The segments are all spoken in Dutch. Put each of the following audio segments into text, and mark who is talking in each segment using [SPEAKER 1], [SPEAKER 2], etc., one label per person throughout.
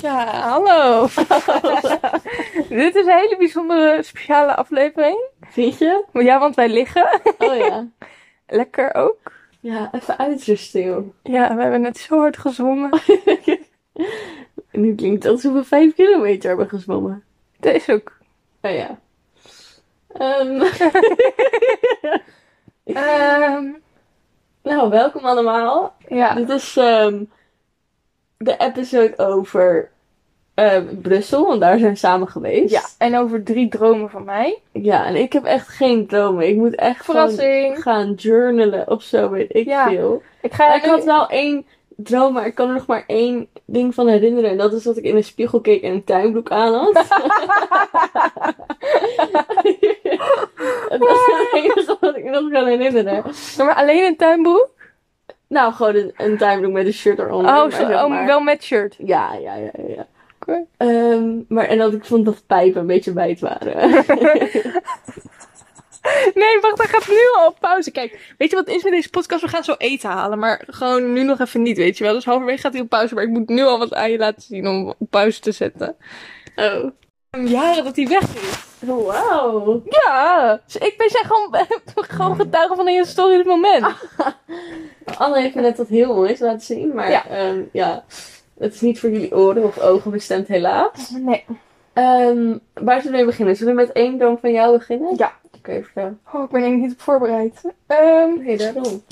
[SPEAKER 1] Ja, hallo. Dit is een hele bijzondere speciale aflevering.
[SPEAKER 2] Vind je?
[SPEAKER 1] Ja, want wij liggen.
[SPEAKER 2] Oh ja.
[SPEAKER 1] Lekker ook.
[SPEAKER 2] Ja, even uitrusten, joh.
[SPEAKER 1] Ja, we hebben net zo hard gezwommen.
[SPEAKER 2] nu klinkt het alsof we vijf kilometer hebben gezwommen.
[SPEAKER 1] Dat is ook.
[SPEAKER 2] Oh ja. Ehm,
[SPEAKER 1] Ehm,
[SPEAKER 2] nou, welkom allemaal.
[SPEAKER 1] ja.
[SPEAKER 2] Dit is ehm, de episode over ehm, Brussel, want daar zijn we samen geweest.
[SPEAKER 1] ja, en over drie dromen van mij.
[SPEAKER 2] Ja, en ik heb echt geen dromen. Ik moet echt gewoon
[SPEAKER 1] Verrassing.
[SPEAKER 2] gaan journalen of zo, weet ik
[SPEAKER 1] Ja.
[SPEAKER 2] veel.
[SPEAKER 1] Ik ga
[SPEAKER 2] ik had wel één droom, maar ik kan er nog maar één ding van herinneren. En dat is dat ik in een spiegel keek en een tuinbroek aan had. dat was het enige wat ik me nog kan herinneren.
[SPEAKER 1] maar alleen een tuinboek.
[SPEAKER 2] Nou, gewoon een, een tuinbroek met een shirt eronder.
[SPEAKER 1] Oh,
[SPEAKER 2] maar
[SPEAKER 1] zo,
[SPEAKER 2] zeg
[SPEAKER 1] oh,
[SPEAKER 2] maar.
[SPEAKER 1] wel met shirt.
[SPEAKER 2] Ja, ja, ja, ja, ja.
[SPEAKER 1] Oké.
[SPEAKER 2] Ehm, maar en dat ik vond dat pijpen een beetje wijd waren.
[SPEAKER 1] Nee, wacht, hij gaat nu al op pauze. Kijk, weet je wat het is met deze podcast? We gaan zo eten halen, maar gewoon nu nog even niet, weet je wel. Dus halverwege gaat hij op pauze, maar ik moet nu al wat aan je laten zien om op pauze te zetten.
[SPEAKER 2] oh.
[SPEAKER 1] Jaren Ehm, dat hij weg is.
[SPEAKER 2] Wow.
[SPEAKER 1] Ja, dus ik ben zijn gewoon, gewoon getuige van een historisch moment.
[SPEAKER 2] Anne heeft me net wat heel moois laten zien, maar
[SPEAKER 1] Ja.
[SPEAKER 2] ja. ja, het is niet voor jullie oren of ogen bestemd, helaas.
[SPEAKER 1] nee.
[SPEAKER 2] Ehm, waar zullen we beginnen? Zullen we met één droom van jou beginnen?
[SPEAKER 1] Ja.
[SPEAKER 2] Oké, vertel.
[SPEAKER 1] Oh, ik ben er niet op voorbereid. Ehm,
[SPEAKER 2] Nee, daarom.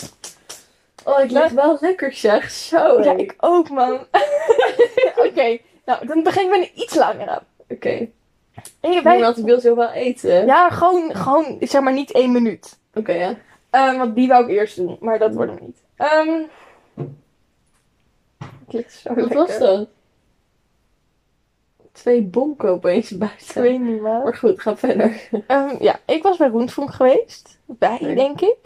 [SPEAKER 2] Oh, ik leg wel lekker zeg. Zo.
[SPEAKER 1] oh, ja,
[SPEAKER 2] hé.
[SPEAKER 1] ik ook, man. Oké, nou, dan begin ik met een iets langere.
[SPEAKER 2] Oké.
[SPEAKER 1] Hey,
[SPEAKER 2] Wij...
[SPEAKER 1] wij-
[SPEAKER 2] Want ik wil zo wel eten.
[SPEAKER 1] Ja, gewoon, gewoon, zeg maar niet één minuut.
[SPEAKER 2] Oké, ja.
[SPEAKER 1] Ehm, want die wou ik eerst doen, maar dat wordt hem niet. Ehm het ligt zo
[SPEAKER 2] Wat
[SPEAKER 1] lekker.
[SPEAKER 2] was dat? Twee bonken opeens buiten.
[SPEAKER 1] Ik weet niet waar.
[SPEAKER 2] Maar goed, ga verder.
[SPEAKER 1] Ehm, ja, ik was bij Roentvonk geweest. Bij,
[SPEAKER 2] Nee.
[SPEAKER 1] denk ik.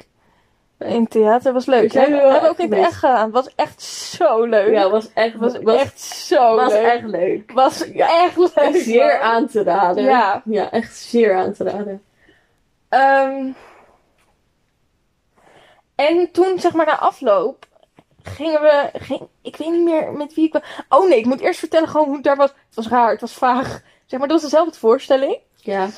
[SPEAKER 1] In het theater was
[SPEAKER 2] We
[SPEAKER 1] leuk.
[SPEAKER 2] zijn
[SPEAKER 1] hè?
[SPEAKER 2] er
[SPEAKER 1] We
[SPEAKER 2] wel
[SPEAKER 1] hebben ook
[SPEAKER 2] echt
[SPEAKER 1] in het echt gedaan. Het was echt zo leuk.
[SPEAKER 2] Ja, was echt,
[SPEAKER 1] het was, echt zo
[SPEAKER 2] was
[SPEAKER 1] leuk.
[SPEAKER 2] echt leuk.
[SPEAKER 1] was echt leuk.
[SPEAKER 2] Zeer
[SPEAKER 1] man.
[SPEAKER 2] aan te raden.
[SPEAKER 1] Ja.
[SPEAKER 2] Ja, echt zeer aan te raden.
[SPEAKER 1] Ehm, en toen, zeg maar, na afloop, gingen we. Ging, ik weet niet meer met wie ik was. Oh nee, ik moet eerst vertellen gewoon hoe het daar was. Het was raar, het was vaag. Zeg maar, dat was dezelfde voorstelling.
[SPEAKER 2] Ja.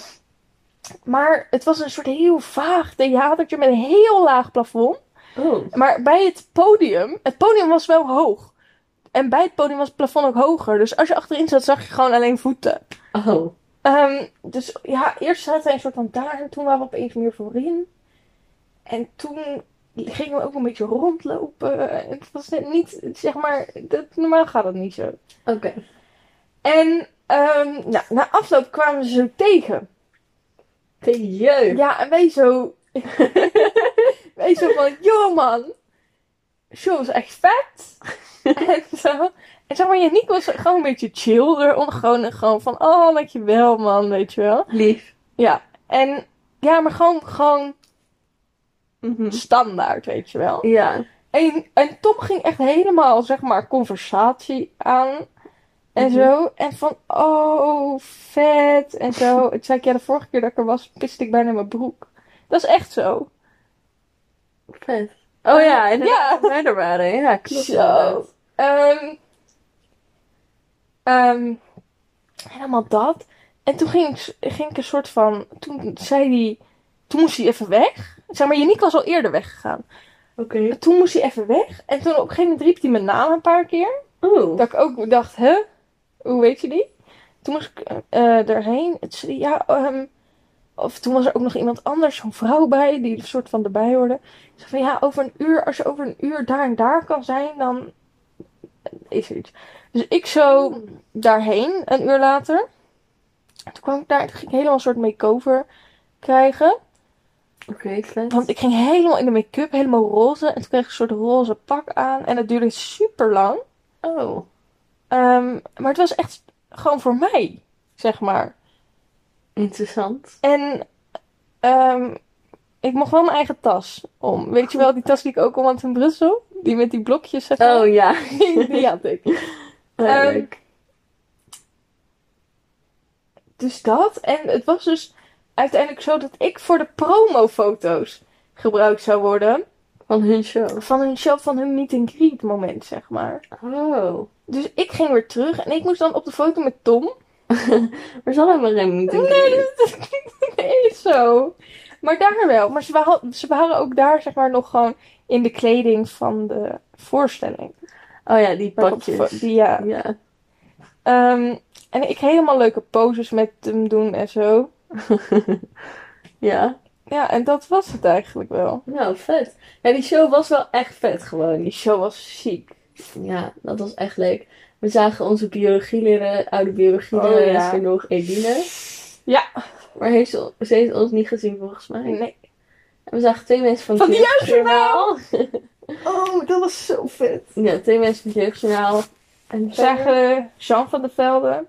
[SPEAKER 1] Maar het was een soort heel vaag theatertje met een heel laag plafond.
[SPEAKER 2] Oh.
[SPEAKER 1] Maar bij het podium, het podium was wel hoog. En bij het podium was het plafond ook hoger. Dus als je achterin zat, zag je gewoon alleen voeten.
[SPEAKER 2] Oh.
[SPEAKER 1] Ehm, dus ja, eerst zaten wij een soort van daar en toen waren we opeens meer voorin. En toen gingen we ook een beetje rondlopen. En Het was net niet, zeg maar, dat, normaal gaat dat niet zo.
[SPEAKER 2] Oké.
[SPEAKER 1] En ehm, nou, na afloop kwamen ze zo tegen.
[SPEAKER 2] Te jeugd.
[SPEAKER 1] Ja, en wij zo, wij zo van, yo man, show is echt vet. en zo. En zeg maar, Janiek was gewoon een beetje chill eronder. Gewoon, gewoon van, oh, dankjewel man, weet je wel.
[SPEAKER 2] Lief.
[SPEAKER 1] Ja, en ja, maar gewoon, gewoon
[SPEAKER 2] Mhm.
[SPEAKER 1] standaard, weet je wel.
[SPEAKER 2] Ja.
[SPEAKER 1] En, en Tom ging echt helemaal, zeg maar, conversatie aan en
[SPEAKER 2] Mhm.
[SPEAKER 1] zo. En van, oh, vet en zo. Het zei ik, ja, de vorige keer dat ik er was, piste ik bijna in mijn broek. Dat is echt zo.
[SPEAKER 2] Vet. Oh ja, en
[SPEAKER 1] Ja.
[SPEAKER 2] ja. wij er waren. Ja, klopt.
[SPEAKER 1] Zo. Ehm, ehm, helemaal dat. En toen ging ik, ging ik een soort van. Toen zei hij. Toen moest hij even weg. Zeg maar, Janiek was al eerder weggegaan.
[SPEAKER 2] Oké.
[SPEAKER 1] Toen moest hij even weg. En toen op een gegeven moment riep hij mijn naam een paar keer.
[SPEAKER 2] Oh.
[SPEAKER 1] Dat ik ook dacht, hè? Hoe weet je die? Toen moest ik eh erheen. Het, zei, ja, ehm, of toen was er ook nog iemand anders, zo'n vrouw bij, die een soort van erbij hoorde. Ik zei van, ja, over een uur, als je over een uur daar en daar kan zijn, dan is er iets. Dus ik zo daarheen, een uur later. En Toen kwam ik daar, en toen ging ik helemaal een soort make-over krijgen.
[SPEAKER 2] Oké, vet.
[SPEAKER 1] Want ik ging helemaal in de make-up, helemaal roze. En toen kreeg ik een soort roze pak aan. En dat duurde super lang.
[SPEAKER 2] Oh.
[SPEAKER 1] Ehm, maar het was echt gewoon voor mij, zeg maar.
[SPEAKER 2] Interessant.
[SPEAKER 1] En ehm, ik mocht wel mijn eigen tas om. Weet je wel, die tas die ik ook om had in Brussel? Die met die blokjes, zeg maar.
[SPEAKER 2] Oh ja, die had ik. Ja,
[SPEAKER 1] Ehm,
[SPEAKER 2] leuk.
[SPEAKER 1] Dus dat. En het was dus uiteindelijk zo dat ik voor de promofoto's gebruikt zou worden.
[SPEAKER 2] Van hun show.
[SPEAKER 1] Van hun show, van hun meet and greet moment, zeg maar.
[SPEAKER 2] Oh.
[SPEAKER 1] Dus ik ging weer terug en ik moest dan op de foto met Tom.
[SPEAKER 2] Maar ze hadden helemaal geen moeite. in.
[SPEAKER 1] Nee, is zo. Maar daar wel. Maar ze waren, ze waren ook daar, zeg maar, nog gewoon in de kleding van de voorstelling.
[SPEAKER 2] Oh ja, die
[SPEAKER 1] Maar ik op de
[SPEAKER 2] pakjes.
[SPEAKER 1] fo- die, ja.
[SPEAKER 2] Ja.
[SPEAKER 1] Ehm, en ik helemaal leuke poses met hem doen en zo.
[SPEAKER 2] ja.
[SPEAKER 1] Ja, en dat was het eigenlijk wel.
[SPEAKER 2] Nou, vet. Ja, die show was wel echt vet gewoon.
[SPEAKER 1] Die show was ziek.
[SPEAKER 2] Ja, dat was echt leuk. We zagen onze biologieleraar, oude biologieleraar,
[SPEAKER 1] Oh, ja.
[SPEAKER 2] is er nog, Edine.
[SPEAKER 1] Ja.
[SPEAKER 2] Maar heeft ze, ze heeft ons niet gezien volgens mij.
[SPEAKER 1] Nee.
[SPEAKER 2] En we zagen twee mensen van,
[SPEAKER 1] Van het
[SPEAKER 2] Jeugdjournaal.
[SPEAKER 1] Oh, dat was zo vet.
[SPEAKER 2] Ja, twee mensen van het Jeugdjournaal. En
[SPEAKER 1] We zagen Jean van der Velde.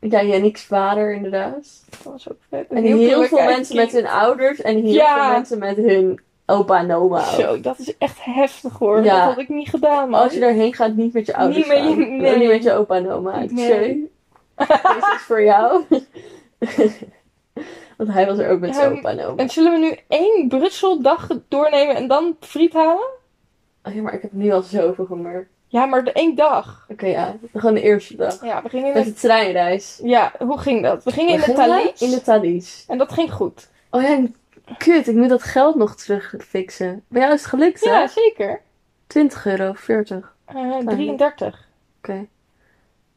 [SPEAKER 2] Ja, Yannick's vader inderdaad.
[SPEAKER 1] Dat was ook vet.
[SPEAKER 2] En heel, veel
[SPEAKER 1] klein
[SPEAKER 2] mensen met
[SPEAKER 1] kind.
[SPEAKER 2] hun ouders en heel
[SPEAKER 1] Ja.
[SPEAKER 2] veel mensen met hun opa en oma. ook.
[SPEAKER 1] Zo, dat is echt heftig hoor.
[SPEAKER 2] Ja.
[SPEAKER 1] Dat had ik niet gedaan,
[SPEAKER 2] Maar
[SPEAKER 1] man.
[SPEAKER 2] als je daarheen gaat, niet met je ouders
[SPEAKER 1] Niet met je-
[SPEAKER 2] gaan.
[SPEAKER 1] nee.
[SPEAKER 2] Niet met je opa en oma. Ik
[SPEAKER 1] Nee.
[SPEAKER 2] zei, Dit is voor jou. Want hij was er ook met zijn
[SPEAKER 1] Ehm,
[SPEAKER 2] opa en oma.
[SPEAKER 1] En zullen we nu één Brusseldag doornemen en dan friet halen?
[SPEAKER 2] Oh ja, maar ik heb nu al zoveel gemerkt.
[SPEAKER 1] Ja, maar de één dag.
[SPEAKER 2] Oké, ja. Gewoon de eerste dag.
[SPEAKER 1] Ja, we gingen in
[SPEAKER 2] Met
[SPEAKER 1] de...
[SPEAKER 2] de treinreis.
[SPEAKER 1] Ja, hoe ging dat? We gingen in
[SPEAKER 2] We
[SPEAKER 1] de
[SPEAKER 2] gingen
[SPEAKER 1] Thalys.
[SPEAKER 2] In de Thalys.
[SPEAKER 1] En dat ging goed.
[SPEAKER 2] Oh ja, en kut. Ik moet dat geld nog terugfixen. Bij jou is het gelukt, hè?
[SPEAKER 1] Ja, zeker.
[SPEAKER 2] 20 euro, 40. Oké.
[SPEAKER 1] Eh 33.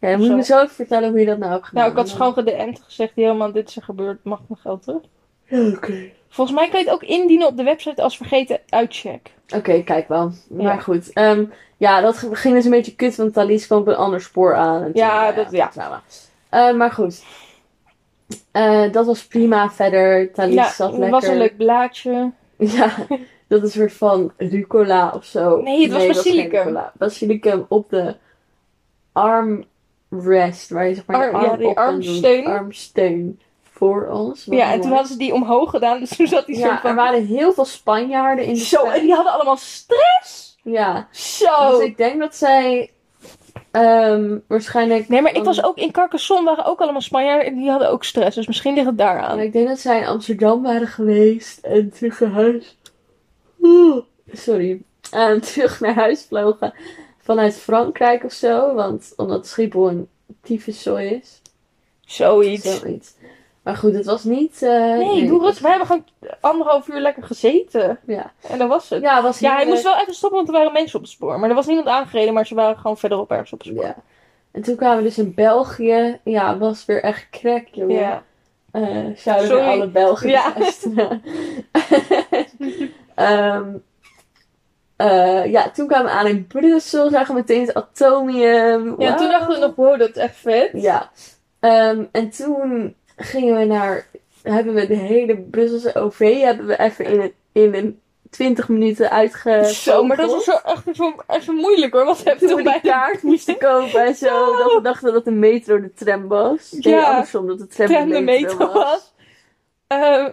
[SPEAKER 2] Ja, dan
[SPEAKER 1] Of
[SPEAKER 2] moet je me zo even vertellen hoe je dat nou hebt gedaan.
[SPEAKER 1] Nou, ik had ze gewoon gedm'd gezegd, helemaal dit is er gebeurd, mag mijn geld terug.
[SPEAKER 2] Ja, Oké.
[SPEAKER 1] Volgens mij kan je het ook indienen op de website als vergeten uitcheck.
[SPEAKER 2] Oké, kijk wel.
[SPEAKER 1] Ja.
[SPEAKER 2] Maar goed. Ehm, ja, dat ge- ging dus een beetje kut, want Thalys kwam op een ander spoor aan. En
[SPEAKER 1] Ja, dat- ja.
[SPEAKER 2] drama. Eh, maar goed. Eh, dat was prima verder. Thalys
[SPEAKER 1] ja,
[SPEAKER 2] zat
[SPEAKER 1] het
[SPEAKER 2] lekker.
[SPEAKER 1] was een leuk blaadje.
[SPEAKER 2] Ja, dat is een soort van rucola of zo.
[SPEAKER 1] Nee, het was
[SPEAKER 2] dat geen
[SPEAKER 1] basilicum.
[SPEAKER 2] rucola. Basilicum op de armrest, waar je zeg maar je
[SPEAKER 1] Arm- ja, die
[SPEAKER 2] op kan doen.
[SPEAKER 1] armsteun.
[SPEAKER 2] Armsteun voor ons. Wat
[SPEAKER 1] Ja, en
[SPEAKER 2] mooi.
[SPEAKER 1] toen hadden ze die omhoog gedaan, dus toen zat die soort
[SPEAKER 2] Ja, er
[SPEAKER 1] van...
[SPEAKER 2] waren heel veel Spanjaarden in de
[SPEAKER 1] Zo,
[SPEAKER 2] trein.
[SPEAKER 1] en Oh. die hadden allemaal stress!
[SPEAKER 2] Ja,
[SPEAKER 1] Zo!
[SPEAKER 2] dus ik denk dat zij ehm, waarschijnlijk...
[SPEAKER 1] Nee, maar ik was ook in Carcassonne, waren ook allemaal Spanjaarden en die hadden ook stress. Dus misschien ligt het daaraan.
[SPEAKER 2] Ja, ik denk dat zij in Amsterdam waren geweest en terug naar huis. Oeh, sorry. En terug naar huis vlogen vanuit Frankrijk of zo. Want omdat Schiphol een tyfuszooi is.
[SPEAKER 1] Zoiets.
[SPEAKER 2] Zoiets. Maar goed, het was niet... eh,
[SPEAKER 1] Nee, doe rustig. We hebben gewoon anderhalf uur lekker gezeten.
[SPEAKER 2] Ja,
[SPEAKER 1] En dat was het.
[SPEAKER 2] ja, het was
[SPEAKER 1] Ja, hij
[SPEAKER 2] heerlijk.
[SPEAKER 1] moest wel even stoppen, want er waren mensen op het spoor. Maar er was niemand aangereden, maar ze waren gewoon verderop ergens op het spoor.
[SPEAKER 2] Ja. En toen kwamen we dus in België. Ja, het was weer echt crack, jongen.
[SPEAKER 1] Ja.
[SPEAKER 2] eh zouden
[SPEAKER 1] Sorry.
[SPEAKER 2] we alle Belgen
[SPEAKER 1] Ja.
[SPEAKER 2] luisteren. Ehm, eh, ja, toen kwamen we aan in Brussel, zagen we meteen het atomium.
[SPEAKER 1] Ja,
[SPEAKER 2] Wauw.
[SPEAKER 1] toen dachten we nog, wow, dat is echt vet.
[SPEAKER 2] Ja, Ehm, en toen gingen we naar, hebben we de hele Brusselse OV hebben we even in een, in een 20 minuten uitge.
[SPEAKER 1] Zo, maar dat was zo echt even, even moeilijk hoor, want we hebben
[SPEAKER 2] Toen
[SPEAKER 1] Eh, toen
[SPEAKER 2] we die
[SPEAKER 1] bij de
[SPEAKER 2] kaart moesten kopen en zo, dat we dachten dat de metro de tram was. Nee,
[SPEAKER 1] Ja.
[SPEAKER 2] andersom, dat de tram,
[SPEAKER 1] tram de metro was. Eh,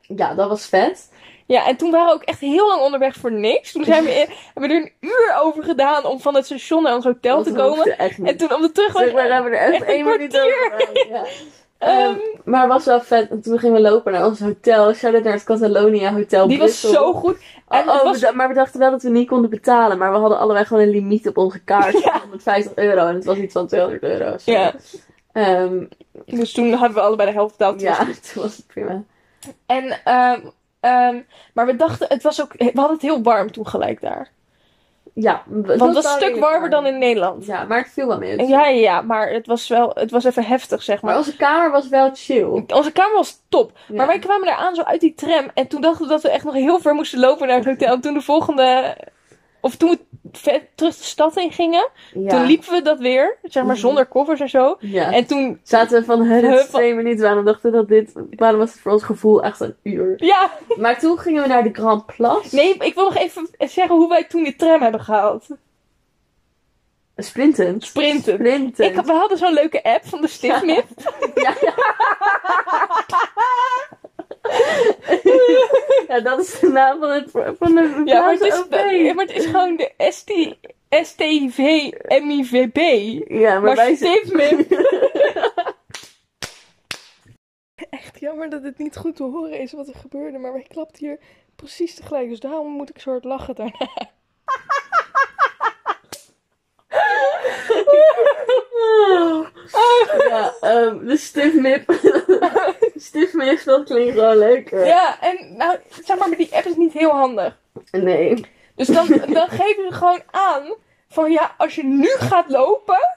[SPEAKER 2] Ja, dat was vet.
[SPEAKER 1] ja, en toen waren we ook echt heel lang onderweg voor niks. Toen zijn we in- hebben we er een uur over gedaan om van het station naar ons hotel
[SPEAKER 2] Want
[SPEAKER 1] te
[SPEAKER 2] we
[SPEAKER 1] komen.
[SPEAKER 2] hoefden echt niet.
[SPEAKER 1] En toen op de terugweg...
[SPEAKER 2] Zeg maar, eh, we hebben er echt
[SPEAKER 1] echt een
[SPEAKER 2] één minuut over gedaan. Ja.
[SPEAKER 1] ehm,
[SPEAKER 2] Maar het was wel vet. En toen gingen we lopen naar ons hotel. Shout-out naar het Catalonia Hotel
[SPEAKER 1] die was
[SPEAKER 2] Brussel.
[SPEAKER 1] zo goed. en
[SPEAKER 2] oh,
[SPEAKER 1] het
[SPEAKER 2] oh,
[SPEAKER 1] was-
[SPEAKER 2] we da- maar we dachten wel dat we niet konden betalen. Maar we hadden allebei gewoon een limiet op onze kaart. van 150 euro. En het was iets van 200 euro. of zo.
[SPEAKER 1] Ja.
[SPEAKER 2] Ehm,
[SPEAKER 1] Dus toen hadden we allebei de helft betaald. Toen
[SPEAKER 2] ja, toen was het prima.
[SPEAKER 1] En, ehm, ehm, maar we dachten, het was ook, we hadden het heel warm toen gelijk daar.
[SPEAKER 2] Ja.
[SPEAKER 1] Want het was een stuk warmer dan in Nederland.
[SPEAKER 2] Ja, maar het viel wel mee.
[SPEAKER 1] En ja, ja, ja, maar het was wel, het was even heftig, zeg
[SPEAKER 2] Maar
[SPEAKER 1] maar.
[SPEAKER 2] onze kamer was wel chill.
[SPEAKER 1] Onze kamer was top.
[SPEAKER 2] Oh. Ja.
[SPEAKER 1] Maar wij kwamen daar aan zo uit die tram. En toen dachten we dat we echt nog heel ver moesten lopen naar het hotel. En toen de volgende, of toen we ver- terug de stad in gingen.
[SPEAKER 2] Ja.
[SPEAKER 1] Toen liepen we dat weer, zeg maar
[SPEAKER 2] Mhm.
[SPEAKER 1] zonder koffers en zo.
[SPEAKER 2] Ja.
[SPEAKER 1] En toen,
[SPEAKER 2] Zaten we van, hè, dit is
[SPEAKER 1] Hup.
[SPEAKER 2] twee minuten. Waarom dachten we dat dit... Waarom was het voor ons gevoel echt een uur?
[SPEAKER 1] ja.
[SPEAKER 2] Maar toen gingen we naar de Grand Place.
[SPEAKER 1] Nee, ik wil nog even zeggen hoe wij toen de tram hebben gehaald.
[SPEAKER 2] Sprinten.
[SPEAKER 1] Sprinten.
[SPEAKER 2] Sprinten.
[SPEAKER 1] Ik, we hadden zo'n leuke app van de Stiftmip.
[SPEAKER 2] Ja, ja. Ja, dat is de naam van het van de
[SPEAKER 1] Ja, maar het is,
[SPEAKER 2] Vlaamse OV.
[SPEAKER 1] ja, maar het is gewoon de ST, STIV MIVB.
[SPEAKER 2] Ja, maar,
[SPEAKER 1] Maar,
[SPEAKER 2] wij zijn...
[SPEAKER 1] Stiftmip. Echt jammer dat het niet goed te horen is wat er gebeurde, maar wij klapten hier precies tegelijk. Dus daarom moet ik zo hard lachen daarna. Ah,
[SPEAKER 2] ehm, Knip. Stiefmich, dat klinkt gewoon leuker.
[SPEAKER 1] Ja, en nou, zeg maar, maar die app is niet heel handig.
[SPEAKER 2] Nee.
[SPEAKER 1] Dus dan, dan geven ze gewoon aan van ja, als je nu gaat lopen,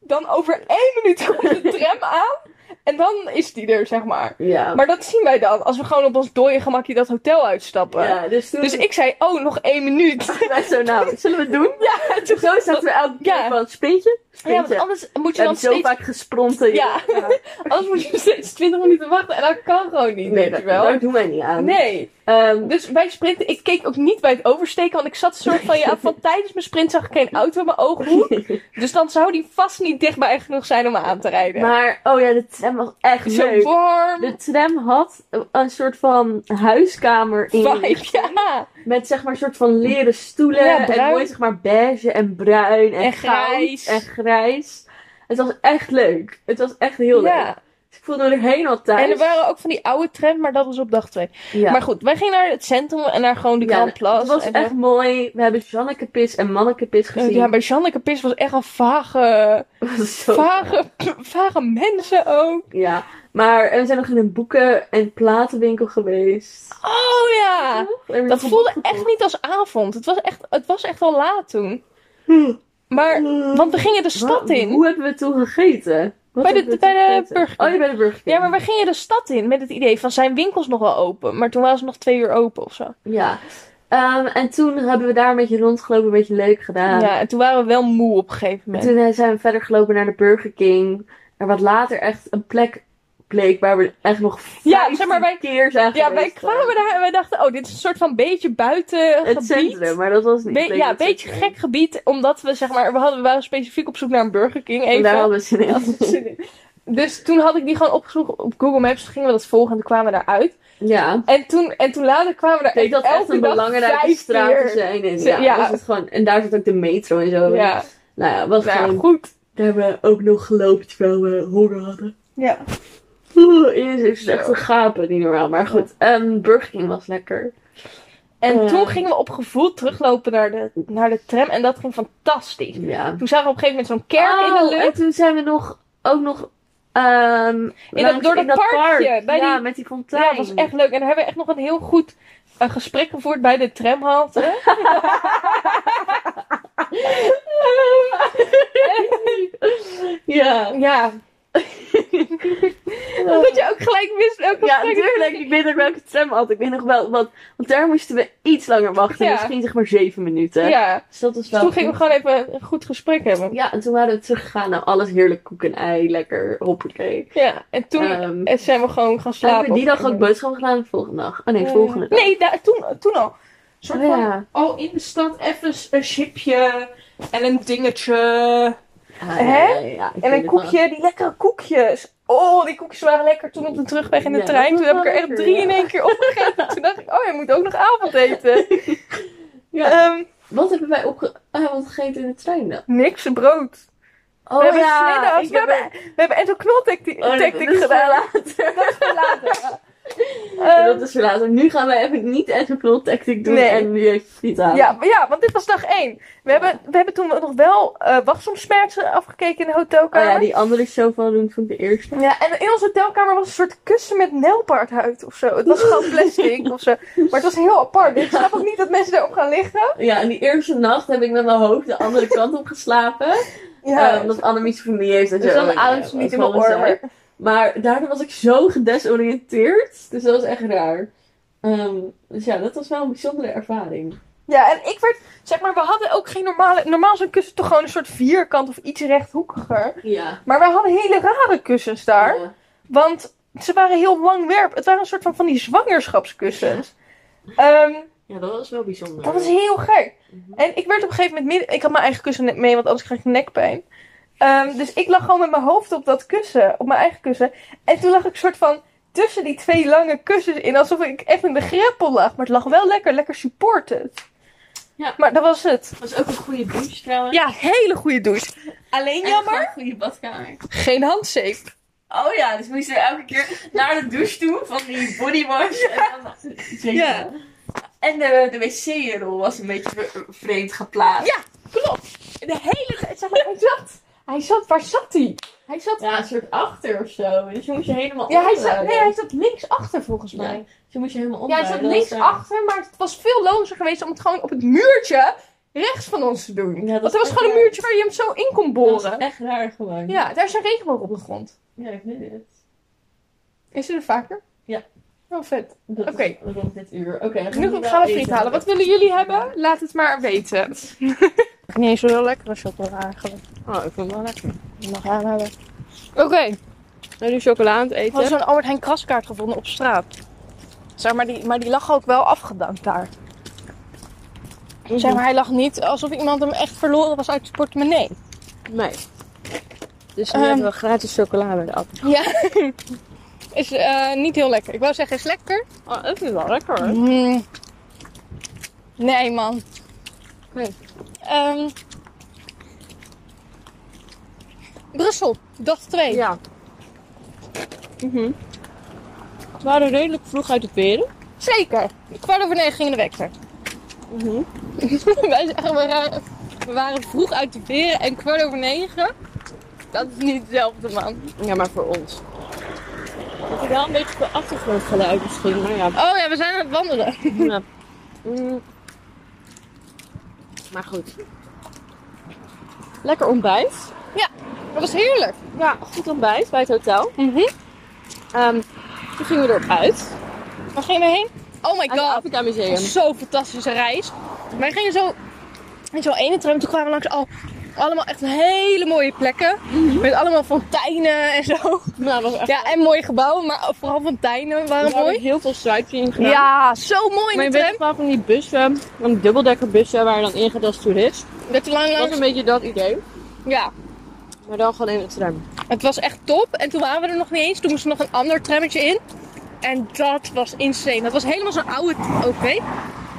[SPEAKER 1] dan over één minuut komt de tram aan. En dan is die er, zeg maar.
[SPEAKER 2] Ja.
[SPEAKER 1] Maar dat zien wij dan, als we gewoon op ons dode gemakje dat hotel uitstappen.
[SPEAKER 2] ja, dus toen...
[SPEAKER 1] Dus ik zei, oh, nog één minuut.
[SPEAKER 2] Wij zo, nou, zullen we het doen?
[SPEAKER 1] Ja, het is-
[SPEAKER 2] Zo zaten we elke keer
[SPEAKER 1] Ja.
[SPEAKER 2] van, sprintje?
[SPEAKER 1] ja, want
[SPEAKER 2] Sprintje.
[SPEAKER 1] anders moet
[SPEAKER 2] we
[SPEAKER 1] je dan
[SPEAKER 2] hebben dus zo
[SPEAKER 1] steeds...
[SPEAKER 2] vaak gespronten.
[SPEAKER 1] Ja. Anders moet je steeds 20 minuten wachten en dat kan gewoon niet,
[SPEAKER 2] Nee,
[SPEAKER 1] weet
[SPEAKER 2] dat,
[SPEAKER 1] je wel.
[SPEAKER 2] daar doen wij niet aan.
[SPEAKER 1] Nee,
[SPEAKER 2] Ehm,
[SPEAKER 1] dus wij sprinten. Ik keek ook niet bij het oversteken, want ik zat soort van ja. Van tijdens mijn sprint zag ik geen auto in mijn ooghoek. Dus dan zou die vast niet dichtbij genoeg zijn om me aan te rijden.
[SPEAKER 2] maar, oh ja, de tram was echt
[SPEAKER 1] Zo
[SPEAKER 2] leuk. Dus
[SPEAKER 1] warm.
[SPEAKER 2] De tram had een soort van huiskamer in.
[SPEAKER 1] Vibe, ja.
[SPEAKER 2] Met zeg maar een soort van leren stoelen.
[SPEAKER 1] Ja,
[SPEAKER 2] en
[SPEAKER 1] bruin.
[SPEAKER 2] mooi zeg maar beige en bruin en,
[SPEAKER 1] En
[SPEAKER 2] goud
[SPEAKER 1] grijs.
[SPEAKER 2] En grijs. Het was echt leuk. Het was echt heel leuk.
[SPEAKER 1] ja.
[SPEAKER 2] Dus ik voelde me er helemaal thuis.
[SPEAKER 1] En er waren ook van die oude tram, maar dat was op dag 2.
[SPEAKER 2] ja.
[SPEAKER 1] Maar goed, wij gingen naar het centrum en naar gewoon de
[SPEAKER 2] Ja,
[SPEAKER 1] Grand Place.
[SPEAKER 2] Het was
[SPEAKER 1] en eh, Oh,
[SPEAKER 2] echt mooi. We hebben Janneke Pis en Manneke Pis gezien.
[SPEAKER 1] Ja, bij Janneke Pis was echt een vage,
[SPEAKER 2] Het was zo-
[SPEAKER 1] vage, vage mensen ook.
[SPEAKER 2] Ja, maar en we zijn nog in een boeken- en platenwinkel geweest.
[SPEAKER 1] Oh ja!
[SPEAKER 2] En we
[SPEAKER 1] Dat
[SPEAKER 2] hebben
[SPEAKER 1] voelde
[SPEAKER 2] boeken
[SPEAKER 1] echt niet als avond. Het was echt, het was echt al laat toen.
[SPEAKER 2] gekocht.
[SPEAKER 1] Maar, want we gingen de
[SPEAKER 2] Wa-
[SPEAKER 1] stad in.
[SPEAKER 2] Hm. Hoe hebben we toen gegeten? Wat
[SPEAKER 1] Bij de-
[SPEAKER 2] hebben we
[SPEAKER 1] bij
[SPEAKER 2] toen
[SPEAKER 1] de
[SPEAKER 2] gegeten?
[SPEAKER 1] Burger King.
[SPEAKER 2] Oh, ja, bij de Burger King.
[SPEAKER 1] Ja, maar we gingen de stad in met het idee van zijn winkels nog wel open. Maar toen waren ze nog twee uur open of zo.
[SPEAKER 2] Ja. Ehm, en toen hebben we daar een beetje rondgelopen, een beetje leuk gedaan.
[SPEAKER 1] Ja, en toen waren we wel moe op een gegeven
[SPEAKER 2] En
[SPEAKER 1] moment.
[SPEAKER 2] toen eh, zijn we verder gelopen naar de Burger King. En wat later echt een plek bleek waar we echt nog
[SPEAKER 1] Ja, zeg maar,
[SPEAKER 2] 15 keer
[SPEAKER 1] Ja,
[SPEAKER 2] zijn
[SPEAKER 1] wij
[SPEAKER 2] geweest.
[SPEAKER 1] kwamen daar en wij dachten, oh, dit is een soort van beetje buiten
[SPEAKER 2] Het centrum, maar dat was niet.
[SPEAKER 1] Be-
[SPEAKER 2] bleek
[SPEAKER 1] ja, een
[SPEAKER 2] het
[SPEAKER 1] beetje
[SPEAKER 2] centrum.
[SPEAKER 1] gek gebied, omdat we zeg maar, we, hadden, we waren specifiek op zoek naar een Burger King even.
[SPEAKER 2] En daar hadden we zin in.
[SPEAKER 1] Dus toen had ik die gewoon opgezocht op Google Maps, gingen we dat volgen en toen kwamen we daaruit.
[SPEAKER 2] Ja.
[SPEAKER 1] En toen, en toen later kwamen we daar
[SPEAKER 2] Ik denk dat echt
[SPEAKER 1] elke
[SPEAKER 2] een
[SPEAKER 1] dag
[SPEAKER 2] belangrijke
[SPEAKER 1] vijf
[SPEAKER 2] straten
[SPEAKER 1] keer.
[SPEAKER 2] zijn. En,
[SPEAKER 1] Ze-
[SPEAKER 2] ja,
[SPEAKER 1] ja.
[SPEAKER 2] Was het gewoon, en daar zat ook de metro en zo.
[SPEAKER 1] Ja,
[SPEAKER 2] Nou ja, was
[SPEAKER 1] nou, ja,
[SPEAKER 2] gewoon...
[SPEAKER 1] goed.
[SPEAKER 2] Daar hebben we ook nog gelopen terwijl we honger hadden.
[SPEAKER 1] Ja.
[SPEAKER 2] Oeh, Jezus, echt een gapen, niet normaal. Maar goed, Ehm Burger King was lekker.
[SPEAKER 1] En
[SPEAKER 2] Ja.
[SPEAKER 1] toen gingen we op gevoel teruglopen naar de, naar de tram en dat ging fantastisch.
[SPEAKER 2] Ja.
[SPEAKER 1] Toen zagen we op een gegeven moment zo'n kerk in de
[SPEAKER 2] Oh,
[SPEAKER 1] lucht.
[SPEAKER 2] En toen zijn we nog, ook nog ehm
[SPEAKER 1] dat-
[SPEAKER 2] langs-
[SPEAKER 1] door
[SPEAKER 2] in
[SPEAKER 1] dat parkje, bij
[SPEAKER 2] ja,
[SPEAKER 1] die-
[SPEAKER 2] met die fontein.
[SPEAKER 1] Ja, dat was echt leuk. En daar hebben we echt nog een heel goed eh, gesprek gevoerd bij de tramhalte.
[SPEAKER 2] Ja.
[SPEAKER 1] Ja, dat je ook gelijk wist welke
[SPEAKER 2] Ja,
[SPEAKER 1] gesprek-
[SPEAKER 2] natuurlijk. Ik weet ook welke tram had. Ik weet nog wel, want, want daar moesten we iets langer wachten.
[SPEAKER 1] Ja.
[SPEAKER 2] Misschien zeg maar zeven minuten.
[SPEAKER 1] Ja,
[SPEAKER 2] Dus dat was
[SPEAKER 1] dus
[SPEAKER 2] wel
[SPEAKER 1] toen gingen
[SPEAKER 2] goed.
[SPEAKER 1] we gewoon even een goed gesprek hebben.
[SPEAKER 2] Ja, en toen waren we teruggegaan naar alles heerlijk koek en ei. Lekker, hoppakee.
[SPEAKER 1] Ja, en toen
[SPEAKER 2] Ehm,
[SPEAKER 1] eh, zijn we gewoon gaan slapen.
[SPEAKER 2] hebben we die dag ook
[SPEAKER 1] bij
[SPEAKER 2] boodschappen gedaan? de Volgende dag? Oh nee, volgende dag.
[SPEAKER 1] Nee, daar- toen, toen al. Een soort
[SPEAKER 2] Oh,
[SPEAKER 1] van,
[SPEAKER 2] ja.
[SPEAKER 1] al in de stad even een chipje en een dingetje.
[SPEAKER 2] Ah,
[SPEAKER 1] Hè?
[SPEAKER 2] ja, ja, ja, ik
[SPEAKER 1] En
[SPEAKER 2] weet
[SPEAKER 1] een
[SPEAKER 2] het nog.
[SPEAKER 1] koekje, die lekkere koekjes. Oh, die koekjes waren lekker toen op de terugweg in de
[SPEAKER 2] Ja, dat
[SPEAKER 1] trein.
[SPEAKER 2] was
[SPEAKER 1] Toen heb ik
[SPEAKER 2] wel
[SPEAKER 1] er echt
[SPEAKER 2] lekker,
[SPEAKER 1] drie
[SPEAKER 2] ja.
[SPEAKER 1] in één keer opgegeten. toen dacht ik, oh, je moet ook nog avondeten.
[SPEAKER 2] Ja.
[SPEAKER 1] Ehm
[SPEAKER 2] Wat hebben wij opge... Ah, wat gegeten in de trein dan?
[SPEAKER 1] niks, brood.
[SPEAKER 2] Oh
[SPEAKER 1] we hebben
[SPEAKER 2] ja,
[SPEAKER 1] sniddags,
[SPEAKER 2] ik
[SPEAKER 1] we, hebben, we hebben enzo knoltactiek
[SPEAKER 2] Oh, dat- dat
[SPEAKER 1] tactiek
[SPEAKER 2] is voor
[SPEAKER 1] gedaan.
[SPEAKER 2] later.
[SPEAKER 1] Dat is voor later.
[SPEAKER 2] Ja,
[SPEAKER 1] Ehm,
[SPEAKER 2] dat is voor later. Nu gaan we even niet echt een knol tactiek doen
[SPEAKER 1] Nee.
[SPEAKER 2] en nu even friet halen.
[SPEAKER 1] ja, maar ja, want dit was dag één. We, hebben, we hebben toen nog wel eh wachtzomsmerzen afgekeken in de
[SPEAKER 2] Oh
[SPEAKER 1] hotelkamer.
[SPEAKER 2] ja, die andere show van doen vond ik de eerste.
[SPEAKER 1] Ja, en in onze hotelkamer was een soort kussen met nelpaardhuid of zo. Het was gewoon plastic of zo. Maar het was heel apart. Ik snap ook niet dat mensen daarop gaan liggen.
[SPEAKER 2] Ja, en die eerste nacht heb ik met mijn hoofd de andere kant op geslapen.
[SPEAKER 1] Ja,
[SPEAKER 2] Eh, omdat Annemiek van die heeft en zo.
[SPEAKER 1] dus dan
[SPEAKER 2] Ja,
[SPEAKER 1] adem
[SPEAKER 2] dat
[SPEAKER 1] niet in
[SPEAKER 2] was
[SPEAKER 1] mijn
[SPEAKER 2] wel
[SPEAKER 1] oor.
[SPEAKER 2] saai.
[SPEAKER 1] Maar...
[SPEAKER 2] Maar daardoor was ik zo gedesoriënteerd. Dus dat was echt raar. Ehm, dus ja, dat was wel een bijzondere ervaring.
[SPEAKER 1] Ja, en ik werd, zeg maar, we hadden ook geen normale. Normaal is een kussen toch gewoon een soort vierkant of iets rechthoekiger.
[SPEAKER 2] Ja.
[SPEAKER 1] Maar we hadden hele rare kussens daar.
[SPEAKER 2] Ja.
[SPEAKER 1] Want ze waren heel langwerp. Het waren een soort van van die zwangerschapskussens. Ehm,
[SPEAKER 2] Ja, dat was wel bijzonder.
[SPEAKER 1] dat was heel gek.
[SPEAKER 2] Mhm.
[SPEAKER 1] En ik werd op een gegeven moment midden... Ik had mijn eigen kussen net mee, want anders kreeg ik nekpijn. Ehm, dus ik lag gewoon met mijn hoofd op dat kussen. Op mijn eigen kussen. En toen lag ik soort van tussen die twee lange kussens in. Alsof ik echt in de greppel lag. Maar het lag wel lekker. Lekker supported.
[SPEAKER 2] Ja.
[SPEAKER 1] Maar dat was het.
[SPEAKER 2] was ook een goede douche trouwens.
[SPEAKER 1] Ja, hele goede douche. Alleen jammer,
[SPEAKER 2] Een goede badkamer.
[SPEAKER 1] geen handzeep.
[SPEAKER 2] Oh ja, dus we moesten er elke keer naar de douche toe van die bodywash. Ja. En,
[SPEAKER 1] Ja.
[SPEAKER 2] en de, de wc-rol was een beetje v- vreemd geplaatst.
[SPEAKER 1] Klopt. De hele tijd. Zeg maar, hij zat. Hij zat. Waar zat hij? Hij zat...
[SPEAKER 2] Ja, een soort achter of zo. Dus je moest je helemaal
[SPEAKER 1] Ja, hij zat,
[SPEAKER 2] omdraaien.
[SPEAKER 1] nee, hij zat links achter volgens mij.
[SPEAKER 2] Ja. Dus je moest je helemaal
[SPEAKER 1] Ja, hij
[SPEAKER 2] omdraaien.
[SPEAKER 1] zat
[SPEAKER 2] Dat
[SPEAKER 1] links
[SPEAKER 2] was, eh,
[SPEAKER 1] achter, maar het was veel logischer geweest om het gewoon op het muurtje rechts van ons te doen.
[SPEAKER 2] Ja, dat
[SPEAKER 1] Want er was
[SPEAKER 2] is
[SPEAKER 1] gewoon een
[SPEAKER 2] echt-
[SPEAKER 1] muurtje waar je hem zo in kon
[SPEAKER 2] Dat was
[SPEAKER 1] boren.
[SPEAKER 2] echt raar gewoon.
[SPEAKER 1] Ja, daar is een regenboog op de grond.
[SPEAKER 2] Ja, ik weet het.
[SPEAKER 1] Is hij er vaker?
[SPEAKER 2] Ja.
[SPEAKER 1] Oh, vet.
[SPEAKER 2] Dat is
[SPEAKER 1] Oké.
[SPEAKER 2] rond dit uur. Oké, dan
[SPEAKER 1] Nu
[SPEAKER 2] wel
[SPEAKER 1] gaan we friet
[SPEAKER 2] eten.
[SPEAKER 1] halen. Wat willen jullie hebben? Laat het maar weten. Niet eens zo heel lekkere chocola eigenlijk.
[SPEAKER 2] Oh, ik vind het wel lekker.
[SPEAKER 1] Nog aan hebben. Oké.
[SPEAKER 2] Nou, nu chocola aan het
[SPEAKER 1] Ik had
[SPEAKER 2] eten.
[SPEAKER 1] zo'n Albert Heijn kraskaart gevonden op straat. Zeg maar, die, maar die lag ook wel afgedankt daar. Zeg maar, hij lag niet alsof iemand hem echt verloren was uit zijn portemonnee.
[SPEAKER 2] Nee. Dus
[SPEAKER 1] nu hebben
[SPEAKER 2] we gratis chocola bij de appel.
[SPEAKER 1] Ja. is eh, niet heel lekker. Ik wou zeggen, is lekker.
[SPEAKER 2] Oh, ik vind het wel lekker.
[SPEAKER 1] Mm. Nee, man.
[SPEAKER 2] Nee.
[SPEAKER 1] Ehm, Brussel, dag 2.
[SPEAKER 2] Ja.
[SPEAKER 1] Mhm.
[SPEAKER 2] We waren redelijk vroeg uit de peren.
[SPEAKER 1] Zeker. Kwart over negen ging de wekker. Mhm. Wij zeggen, we, waren, we waren vroeg uit de veren en kwart over negen. Dat is niet hetzelfde, man.
[SPEAKER 2] Ja, maar voor ons. Het is wel een beetje voor achtergrondgeluid misschien, maar ja.
[SPEAKER 1] Oh ja, we zijn aan het wandelen.
[SPEAKER 2] ja. Mm. Maar goed. Lekker ontbijt.
[SPEAKER 1] Dat was heerlijk.
[SPEAKER 2] Ja, goed ontbijt bij het hotel. Ehm, toen gingen we erop uit.
[SPEAKER 1] Waar gingen we heen? Oh my
[SPEAKER 2] Aan het
[SPEAKER 1] god.
[SPEAKER 2] Afrika
[SPEAKER 1] Dat
[SPEAKER 2] Museum.
[SPEAKER 1] was Zo'n fantastische reis. Wij gingen zo in zo'n ene tram. Toen kwamen we langs al, allemaal echt hele mooie plekken.
[SPEAKER 2] Mhm.
[SPEAKER 1] Met allemaal fonteinen en zo.
[SPEAKER 2] Nou, dat was echt
[SPEAKER 1] Ja, en mooie gebouwen. Maar vooral fonteinen waren
[SPEAKER 2] we hebben
[SPEAKER 1] mooi.
[SPEAKER 2] heel veel sightseeing gedaan.
[SPEAKER 1] Ja, zo mooi
[SPEAKER 2] Maar
[SPEAKER 1] in
[SPEAKER 2] je
[SPEAKER 1] de
[SPEAKER 2] bent
[SPEAKER 1] tram.
[SPEAKER 2] wel van die bussen, van die dubbeldekkerbussen waar je dan ingaat als toerist.
[SPEAKER 1] Dat je lang
[SPEAKER 2] Dat was een
[SPEAKER 1] langs...
[SPEAKER 2] beetje dat idee.
[SPEAKER 1] Ja.
[SPEAKER 2] Maar dan gewoon in het tram.
[SPEAKER 1] Het was echt top. En toen waren we er nog niet eens. Toen moest er nog een ander trammetje in. En dat was insane. Dat was helemaal zo'n oude... Oké. We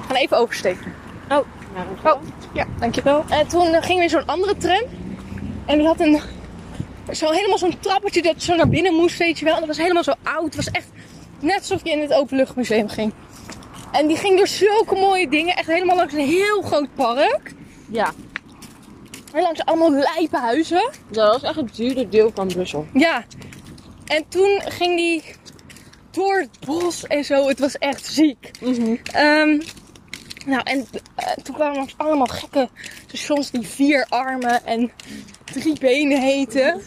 [SPEAKER 1] gaan even oversteken.
[SPEAKER 2] Oh,
[SPEAKER 1] Ja, dankjewel. En toen eh, ging weer zo'n andere tram. En die had een... Zo helemaal zo'n trappetje dat zo naar binnen moest, weet je wel. En dat was helemaal zo oud. Het was echt net alsof je in het openluchtmuseum ging. En die ging door zulke mooie dingen. Echt helemaal langs een heel groot park.
[SPEAKER 2] ja.
[SPEAKER 1] En langs allemaal lijpe huizen.
[SPEAKER 2] Dat was echt het duurde deel van Brussel.
[SPEAKER 1] Ja. En toen ging die door het bos en zo. Het was echt ziek.
[SPEAKER 2] Mhm.
[SPEAKER 1] Ehm, nou, en eh, toen kwamen langs allemaal gekke stations die vier armen en drie benen heten.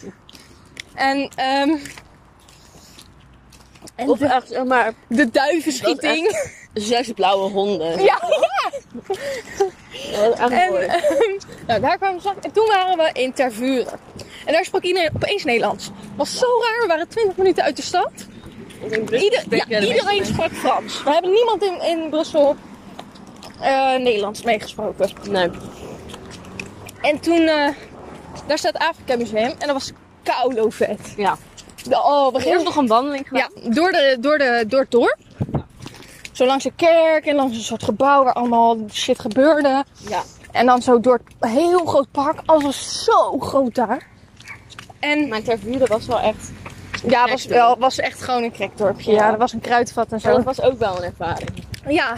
[SPEAKER 1] En, ehm en
[SPEAKER 2] Of
[SPEAKER 1] de,
[SPEAKER 2] echt, zeg maar,
[SPEAKER 1] de duivenschieting.
[SPEAKER 2] zes blauwe honden.
[SPEAKER 1] Ja,
[SPEAKER 2] Dat was echt
[SPEAKER 1] en,
[SPEAKER 2] Oh, mooi.
[SPEAKER 1] ehm, nou, daar kwamen we straks- En toen waren we in Tervuren. En daar sprak iedereen opeens Nederlands. Was zo raar. We waren 20 minuten uit de stad.
[SPEAKER 2] Want in Brussel
[SPEAKER 1] Ieder-
[SPEAKER 2] spreek
[SPEAKER 1] ja,
[SPEAKER 2] je de
[SPEAKER 1] iedereen
[SPEAKER 2] meeste
[SPEAKER 1] sprak Frans. We hebben niemand in, in Brussel eh, Nederlands meegesproken.
[SPEAKER 2] mensen- Nee.
[SPEAKER 1] En toen, eh, daar staat het Afrika Museum en dat was koulo vet.
[SPEAKER 2] Ja.
[SPEAKER 1] De- Oh, we
[SPEAKER 2] We hebben
[SPEAKER 1] gingen
[SPEAKER 2] nog een wandeling gedaan.
[SPEAKER 1] ja, door, de, door, de, door het dorp. Zo langs een kerk en langs een soort gebouw waar allemaal shit gebeurde.
[SPEAKER 2] Ja.
[SPEAKER 1] En dan zo door het heel groot park. Alles was zo groot daar. En
[SPEAKER 2] Maar Tervuren was wel echt...
[SPEAKER 1] ja, was, wel, was echt gewoon een krekdorpje. Ja,
[SPEAKER 2] Ja.
[SPEAKER 1] er was een kruidvat en zo.
[SPEAKER 2] Maar dat was ook wel een ervaring.
[SPEAKER 1] Ja.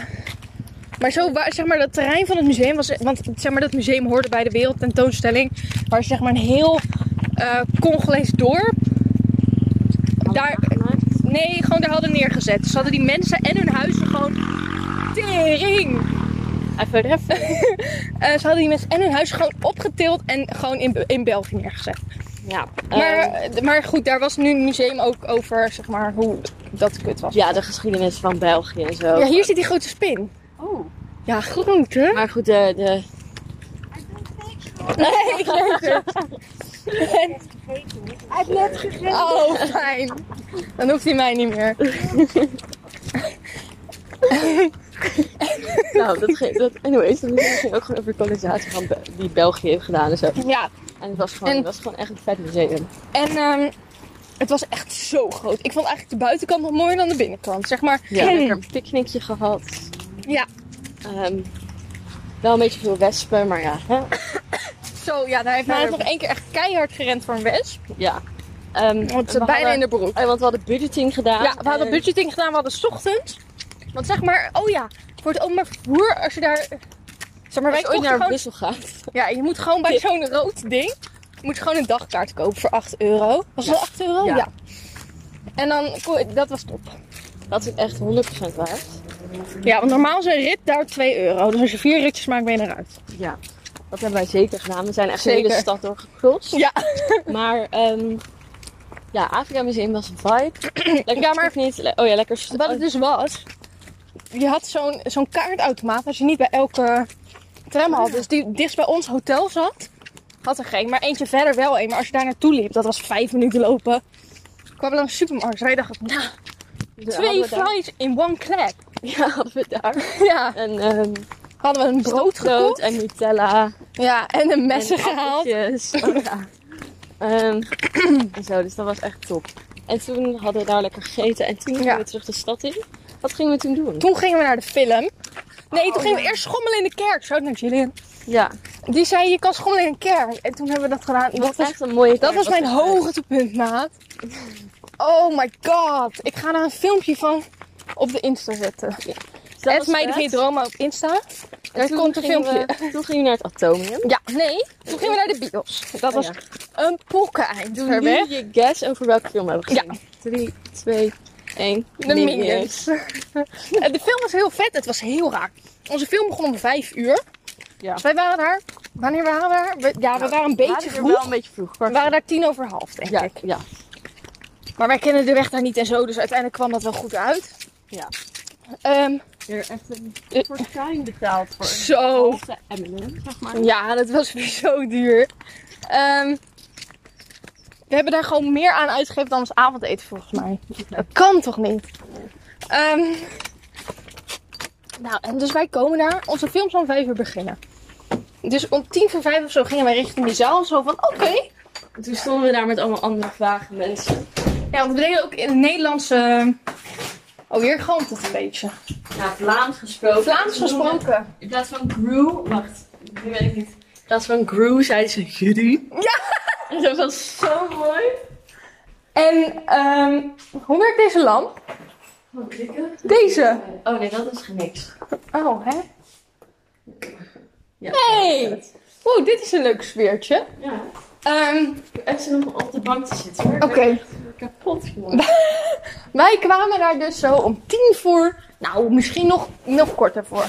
[SPEAKER 1] Maar zo, waar, zeg maar, dat terrein van het museum was... Want zeg maar, dat museum hoorde bij de wereldtentoonstelling. Waar zeg maar een heel eh Congolees dorp... Daar, nee, gewoon daar hadden neergezet. Dus hadden die mensen en hun huizen gewoon... Tering!
[SPEAKER 2] Even reffen.
[SPEAKER 1] Eh, ze hadden die mensen en hun huizen gewoon opgetild... en gewoon in, Be- in België neergezet.
[SPEAKER 2] Ja.
[SPEAKER 1] Maar,
[SPEAKER 2] Ehm,
[SPEAKER 1] eh, maar goed, daar was nu een museum ook over, zeg maar, hoe dat kut was.
[SPEAKER 2] ja, de geschiedenis van België en zo.
[SPEAKER 1] Ja, hier zit die grote spin.
[SPEAKER 3] Oh.
[SPEAKER 1] Ja, goed hè?
[SPEAKER 2] Maar goed, de, de,
[SPEAKER 1] Nee, ik weet het.
[SPEAKER 3] Hij heeft net gegeten.
[SPEAKER 1] Oh, fijn. Dan hoeft hij mij niet meer.
[SPEAKER 2] Nou, dat, ge- dat, anyways, dat ging ook gewoon over de kolonisatie van Be- die België heeft gedaan en zo.
[SPEAKER 1] Ja,
[SPEAKER 2] En het was gewoon,
[SPEAKER 1] En-
[SPEAKER 2] het was gewoon echt een vet museum.
[SPEAKER 1] en ehm, het was echt zo groot. Ik vond eigenlijk de buitenkant nog mooier dan de binnenkant. Zeg maar,
[SPEAKER 2] Ja.
[SPEAKER 1] Hmm.
[SPEAKER 2] Lekker een picknickje gehad.
[SPEAKER 1] Ja.
[SPEAKER 2] Ehm, wel een beetje veel wespen, maar ja. Hè?
[SPEAKER 1] zo, ja, daar heeft mij nog één keer echt keihard gerend voor een wesp.
[SPEAKER 2] Ja. Ehm,
[SPEAKER 1] Want
[SPEAKER 2] we
[SPEAKER 1] ze bijna
[SPEAKER 2] hadden-
[SPEAKER 1] in de broek.
[SPEAKER 2] eh, want we hadden budgeting gedaan.
[SPEAKER 1] Ja, we hadden
[SPEAKER 2] En-
[SPEAKER 1] budgeting gedaan, we hadden 's ochtends. Want zeg maar, oh ja, voor het openbaar vervoer, als je daar... Zeg maar, wij
[SPEAKER 2] Als je ooit
[SPEAKER 1] kochten
[SPEAKER 2] naar
[SPEAKER 1] gewoon...
[SPEAKER 2] Brussel gaat.
[SPEAKER 1] Ja, je moet gewoon bij zo'n rood ding, Moet je gewoon een dagkaart kopen voor 8 euro. Was het wel 8 euro?
[SPEAKER 2] Ja.
[SPEAKER 1] En dan, kon- dat was top.
[SPEAKER 2] Dat is echt 100% waard.
[SPEAKER 1] Ja, want normaal is een rit daar 2 euro. Dus als je vier ritjes maakt, ben je eruit.
[SPEAKER 2] Ja. Dat hebben wij zeker gedaan. We zijn echt de hele
[SPEAKER 1] Zeker.
[SPEAKER 2] stad doorgekrost.
[SPEAKER 1] Ja.
[SPEAKER 2] Maar ehm, ja, Afrika Museum was een vibe. Lekker
[SPEAKER 1] Ja, maar-
[SPEAKER 2] niet. Oh ja, lekker. st-
[SPEAKER 1] Wat het dus was, je had zo'n zo'n kaartautomaat als je niet bij elke tram had. Dus die dichtst bij ons hotel zat, had er geen. Maar eentje verder wel een. Maar als je daar naartoe liep, dat was vijf minuten lopen, kwam er een supermarkt. Wij dachten, nou,
[SPEAKER 2] Oh,
[SPEAKER 1] twee
[SPEAKER 2] hadden we daar-
[SPEAKER 1] fries in one clap.
[SPEAKER 2] Ja, hadden we daar.
[SPEAKER 1] Ja,
[SPEAKER 2] En ehm,
[SPEAKER 1] hadden we een brood gekocht.
[SPEAKER 2] en Nutella.
[SPEAKER 1] Ja, en een messen
[SPEAKER 2] en
[SPEAKER 1] gehaald.
[SPEAKER 2] appeltjes. Oh, ja. Ehm, en zo, dus dat was echt top. En toen hadden we daar lekker gegeten en toen gingen
[SPEAKER 1] Ja.
[SPEAKER 2] we terug de stad in. Wat gingen we toen doen?
[SPEAKER 1] Toen gingen we naar de film. Nee, toen
[SPEAKER 2] Oh,
[SPEAKER 1] gingen we
[SPEAKER 2] ja.
[SPEAKER 1] eerst schommelen in de kerk. Zo naar Jillian.
[SPEAKER 2] Ja,
[SPEAKER 1] Die zei, je kan schommelen in een kerk. En toen hebben we dat gedaan.
[SPEAKER 2] dat
[SPEAKER 1] was
[SPEAKER 2] was echt een mooie
[SPEAKER 1] Dat was mijn
[SPEAKER 2] hoog.
[SPEAKER 1] hoogtepunt, maat. Oh my god. Ik ga daar een filmpje van op de Insta zetten. Het mij de Vier Dromen op Insta. Daar komt een filmpje.
[SPEAKER 2] toen gingen we naar het Atomium.
[SPEAKER 1] Ja, nee. Toen gingen we naar de bios. Dat was
[SPEAKER 2] Oh
[SPEAKER 1] een pokkeneind
[SPEAKER 2] Doe
[SPEAKER 1] ver
[SPEAKER 2] nu
[SPEAKER 1] weg.
[SPEAKER 2] je guess over welke film we hebben
[SPEAKER 1] Ja.
[SPEAKER 2] gezien. 3, 2, 1.
[SPEAKER 1] De Minions. En de film was heel vet. Het was heel raar. Onze film begon om vijf uur.
[SPEAKER 2] Ja. Nou,
[SPEAKER 1] Dus wij waren daar... Wanneer waren we daar? We- ja, we waren een beetje
[SPEAKER 2] vroeg. wel
[SPEAKER 1] vroeg.
[SPEAKER 2] een beetje vroeg.
[SPEAKER 1] We waren daar tien over half, denk
[SPEAKER 2] ja,
[SPEAKER 1] ik.
[SPEAKER 2] ja.
[SPEAKER 1] Maar wij kennen de weg daar niet en zo. Dus uiteindelijk kwam dat wel goed uit.
[SPEAKER 2] Ja.
[SPEAKER 1] Ehm,
[SPEAKER 2] Er echt een
[SPEAKER 1] Eh.
[SPEAKER 2] fortuin betaald voor
[SPEAKER 1] zo.
[SPEAKER 2] M&M, zeg maar.
[SPEAKER 1] Ja, dat was weer zo duur. Ehm, we hebben daar gewoon meer aan uitgegeven dan ons avondeten, volgens mij. Dat kan toch niet? Ehm, nou, en dus wij komen daar. Onze film zal om vijf uur beginnen. Dus om tien voor vijf of zo gingen wij richting die zaal. Zo van, oké.
[SPEAKER 2] Toen stonden we daar met allemaal andere vage mensen.
[SPEAKER 1] Ja, want we deden ook in het Nederlandse... Oh, hier galmt het een beetje.
[SPEAKER 2] Ja, Vlaams gesproken.
[SPEAKER 1] Vlaams gesproken.
[SPEAKER 2] In plaats van Gru, wacht, nu weet ik niet. In plaats van Gru zei ze Judy. Ja! En dat was zo mooi.
[SPEAKER 1] En ehm, hoe werkt deze lamp?
[SPEAKER 2] Wat klikken?
[SPEAKER 1] Deze.
[SPEAKER 2] Oh nee, dat is niks.
[SPEAKER 1] Oh, hè?
[SPEAKER 2] Ja.
[SPEAKER 1] Hey! Oeh, dit is een leuk sfeertje.
[SPEAKER 2] Ja.
[SPEAKER 1] Ehm,
[SPEAKER 2] Ik heb echt om op de bank te zitten hoor. Ik
[SPEAKER 1] Oké,
[SPEAKER 2] ben kapot geworden.
[SPEAKER 1] wij kwamen daar dus zo om tien voor, nou misschien nog, nog korter voor,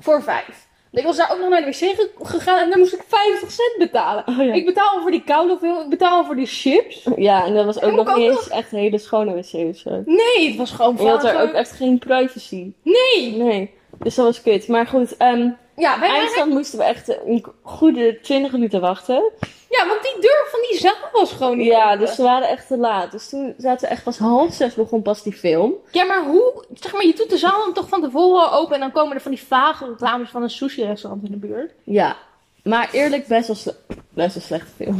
[SPEAKER 1] voor vijf. Ik was daar ook nog naar de wc ge- gegaan en daar moest ik 50 cent betalen.
[SPEAKER 2] Oh, ja.
[SPEAKER 1] Ik betaal voor die koude veel, ik betaal voor die chips.
[SPEAKER 2] Ja, en dat was ook
[SPEAKER 1] En
[SPEAKER 2] nog
[SPEAKER 1] ook
[SPEAKER 2] niet
[SPEAKER 1] nog-
[SPEAKER 2] eens echt een hele schone wc of zo.
[SPEAKER 1] Nee, het was gewoon
[SPEAKER 2] Je had er
[SPEAKER 1] vage-
[SPEAKER 2] ook echt geen privacy.
[SPEAKER 1] Nee!
[SPEAKER 2] Nee. Dus dat was kut. Maar goed, ehm
[SPEAKER 1] Ja, wij waren...
[SPEAKER 2] eindstand moesten we echt een goede 20 minuten wachten.
[SPEAKER 1] ja, want die deur van die zaal was gewoon niet
[SPEAKER 2] Ja,
[SPEAKER 1] open.
[SPEAKER 2] dus we waren echt te laat. Dus toen zaten we echt pas half zes begon pas die film.
[SPEAKER 1] Ja, maar hoe... Zeg maar, je doet de zaal dan toch van tevoren open en dan komen er van die vage reclames van een sushi-restaurant in de buurt.
[SPEAKER 2] Ja. Maar eerlijk, best wel, sle- best wel slechte film.